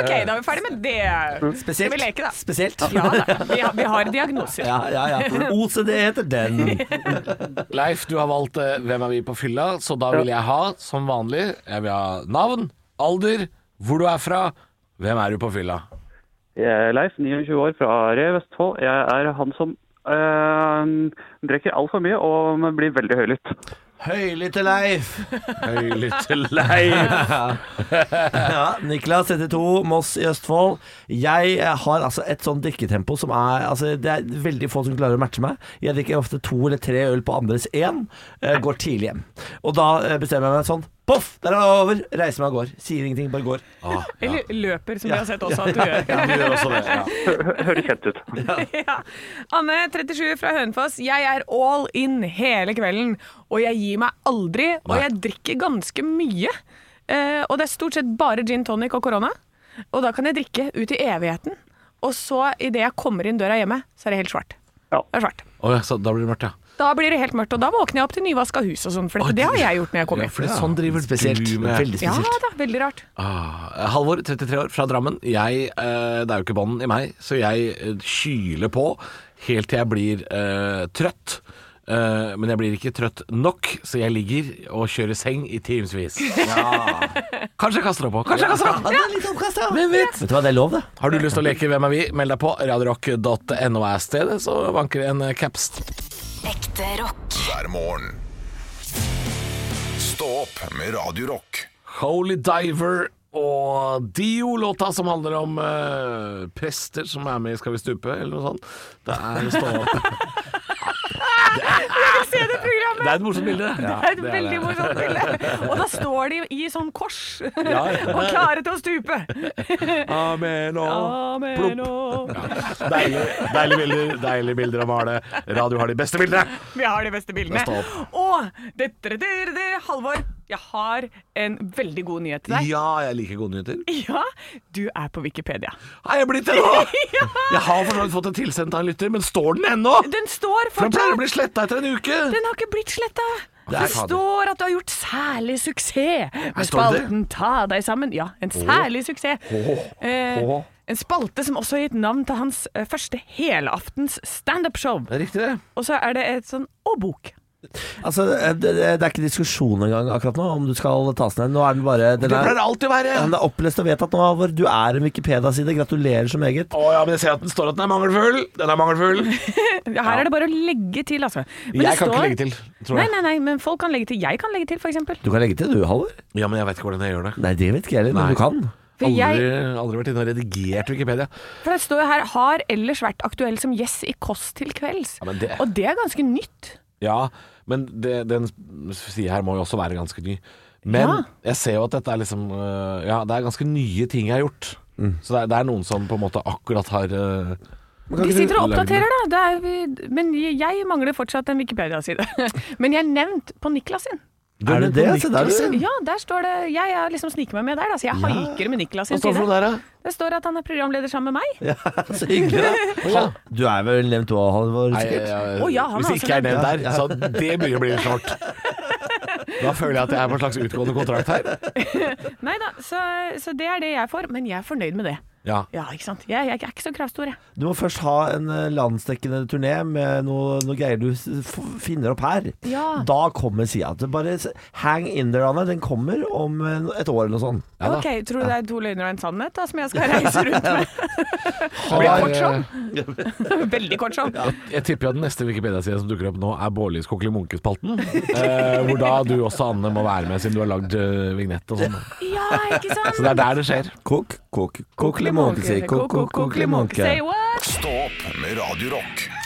Speaker 4: OK, da er vi ferdig med det. Skal vi leke, da?
Speaker 5: Spesielt.
Speaker 4: Ja da. Vi har, vi har diagnoser.
Speaker 5: Ja, ja, ja. OCD heter den.
Speaker 3: Leif, du har valgt eh, Hvem er vi på fylla, så da vil jeg ha, som vanlig, jeg vil ha navn, alder, hvor du er fra, hvem er du på fylla?
Speaker 8: Jeg er Leif, 29 år, fra Re Vestfold. Jeg er han som øh, drikker altfor mye og blir veldig høylytt.
Speaker 5: Høylytte Leif.
Speaker 3: Høylytte Leif.
Speaker 5: Ja, Niklas 32, Moss i Østfold. Jeg har altså et sånn drikketempo som er altså, Det er veldig få som klarer å matche meg. Jeg drikker ofte to eller tre øl på andres én, eh, går tidlig hjem. Og da eh, bestemmer jeg meg sånn Poff, der er det over! Reiser meg og går. Sier ingenting, bare går.
Speaker 4: Eller løper, som vi har sett også at du gjør.
Speaker 5: Ja, vi gjør også det. Ja.
Speaker 8: Høres kjent ut.
Speaker 4: ja. Anne, 37 fra Hønefoss. Jeg er all in hele kvelden, og jeg gir meg aldri. Og jeg drikker ganske mye. Eh, og det er stort sett bare gin tonic og korona. Og da kan jeg drikke ut i evigheten. Og så, idet jeg kommer inn døra hjemme, så er det helt svart.
Speaker 8: Ja.
Speaker 4: Det er svart.
Speaker 3: Å ja, så da blir det mørkt, ja.
Speaker 4: Da blir det helt mørkt, og da våkner jeg opp til nyvaska hus og sånn, for dette- det har jeg gjort når jeg
Speaker 3: Ja,
Speaker 4: kommer.
Speaker 3: for det er sånn driver
Speaker 5: Spesielt.
Speaker 3: du med.
Speaker 5: Veldig
Speaker 4: Ja
Speaker 5: spesielt.
Speaker 4: da, veldig rart.
Speaker 3: Ah, Halvor, 33 år, fra Drammen. Jeg, eh, det er jo ikke bånd i meg, så jeg eh, kyler på helt til jeg blir eh, trøtt. Eh, men jeg blir ikke trøtt nok, så jeg ligger og kjører seng i timevis. Kanskje jeg kaster opp òg. Kanskje jeg kaster opp.
Speaker 5: Ja, det er litt oppkast, ja. Vet du hva, det er lov, det.
Speaker 3: Har du lyst til å leke Hvem er vi? Meld deg på. Radiorock.no er stedet, så vanker det en eh, caps.
Speaker 1: Ekte rock.
Speaker 2: hver morgen. Stå opp med Radio Rock.
Speaker 3: Holy Diver og Dio, låta som handler om eh, prester som er med i Skal vi stupe, eller noe sånt. Det er stå opp.
Speaker 4: Se det programmet!
Speaker 3: Det er et morsomt bilde.
Speaker 4: Det er et veldig morsomt bilde. Og da står de i sånn kors og klare til å stupe.
Speaker 3: Amen og
Speaker 4: Amen og
Speaker 3: Deilige deilige bilder, deilige bilder å male. Radio har de beste bildene.
Speaker 4: Vi har de beste bildene.
Speaker 3: Da stå
Speaker 4: Og det, det, det, det, Halvor, jeg har en veldig god nyhet til deg.
Speaker 3: Ja, jeg liker gode nyheter.
Speaker 4: Ja, du er på Wikipedia.
Speaker 3: Har jeg blitt det nå? Jeg har for så vidt fått det tilsendt av en lytter, men står den ennå?
Speaker 4: Den står
Speaker 3: For den pleier å
Speaker 4: fortsatt!
Speaker 3: bli sletta etter en uke.
Speaker 4: Den har ikke blitt sletta.
Speaker 3: Det
Speaker 4: Det
Speaker 3: er fader.
Speaker 4: står at du har gjort særlig suksess med
Speaker 3: står det det?
Speaker 4: spalten Ta deg sammen. Ja, en særlig suksess. Eh,
Speaker 3: Åh.
Speaker 4: en spalte som også har gitt navn til hans eh, første helaftens standup-show.
Speaker 3: Det er riktig, det.
Speaker 4: Og så er det et sånn Og bok.
Speaker 5: Altså, det, det det er ikke diskusjon engang akkurat nå om du skal tas ned. Nå er den bare den
Speaker 3: Det
Speaker 5: er,
Speaker 3: pleier det alltid å være.
Speaker 5: den er opplest og vedtatt nå, Halvor. Du er en Wikipedia-side. Gratulerer så meget.
Speaker 3: Å ja, men jeg ser at den står at den er mangelfull. Den er mangelfull.
Speaker 4: Her er det bare å legge til, altså. Men det
Speaker 3: jeg kan
Speaker 4: står-
Speaker 3: ikke legge til, tror
Speaker 4: Nei,
Speaker 3: jeg.
Speaker 4: nei, nei, men folk kan legge til. Jeg kan legge til, for eksempel.
Speaker 5: Du kan legge til du, Halvor.
Speaker 3: Ja, men jeg vet ikke hvordan jeg gjør det.
Speaker 5: Nei, det vet ikke jeg heller,
Speaker 3: Nei.
Speaker 5: men du kan.
Speaker 4: For,
Speaker 3: Aldri,
Speaker 4: jeg,
Speaker 3: aldri vært inne og redigert Wikipedia.
Speaker 4: for det står jo her 'har ellers vært aktuell som gjest i Kåss til kvelds'.
Speaker 3: Ja, men det-
Speaker 4: Og det er ganske nytt.
Speaker 3: Ja, men det, den sida her må jo også være ganske ny. Men
Speaker 4: Ja.
Speaker 3: jeg ser jo at dette er liksom øh, Ja, det er ganske nye ting jeg har gjort. Så det er, det er noen som på en måte akkurat har øh,
Speaker 4: De sitter og
Speaker 3: lagd
Speaker 4: oppdaterer, da. Det er, vi- men jeg mangler fortsatt en Wikipedia-side. Men jeg er nevnt på Niklas sin.
Speaker 5: Er det det? Se der, du.
Speaker 4: Ja, der står det Jeg er liksom sniker meg med der, da, så jeg haiker med Niklas sin
Speaker 3: Hva står det for noe
Speaker 4: side.
Speaker 3: der, da?
Speaker 4: Det står at han er programleder sammen med meg.
Speaker 5: Så Altså, hyggelig, da.
Speaker 3: Å,
Speaker 5: Du er vel nevnt du òg, Halvor?
Speaker 3: Nei,
Speaker 5: sikkert?
Speaker 3: jeg-
Speaker 4: Å, ja, han
Speaker 3: hvis
Speaker 4: er
Speaker 3: det
Speaker 4: også
Speaker 3: ikke er nevnt
Speaker 5: nevnt.
Speaker 3: der, så det begynner å bli litt snålt. Da føler jeg at jeg er på en slags utgående kontrakt her.
Speaker 4: Nei da, så, så det er det jeg får. Men jeg er fornøyd med det.
Speaker 3: Ja.
Speaker 4: Ja, ikke sant. Jeg, jeg er ikke så kravstor, jeg.
Speaker 5: Du må først ha en eh, landsdekkende turné med noe, noe greier du s- f finner opp her.
Speaker 4: Ja.
Speaker 5: Da kommer sida. Bare s- hang in there, Anne. Den kommer om eh, et år eller noe sånt.
Speaker 3: da.
Speaker 4: ok, tror du det er to løgner og en sannhet da, som jeg skal reise rundt med?
Speaker 3: Har,
Speaker 4: kort sånn.
Speaker 3: øh,
Speaker 4: Veldig kort sånn.
Speaker 3: Jeg tipper jo at den neste Wikipedia-sida som dukker opp nå, er Bårlis Kokkeli Munke-spalten. Eh, hvor da du også, Anne, må være med, siden du har lagd øh, vignett og sånn.
Speaker 4: Ja, ikke sant?
Speaker 3: Så det er der det skjer.
Speaker 5: Kok, kok, kokelimonke, si. Kok, kok, kokelimonke.
Speaker 4: Say what?
Speaker 2: Stå opp med Radio Rock.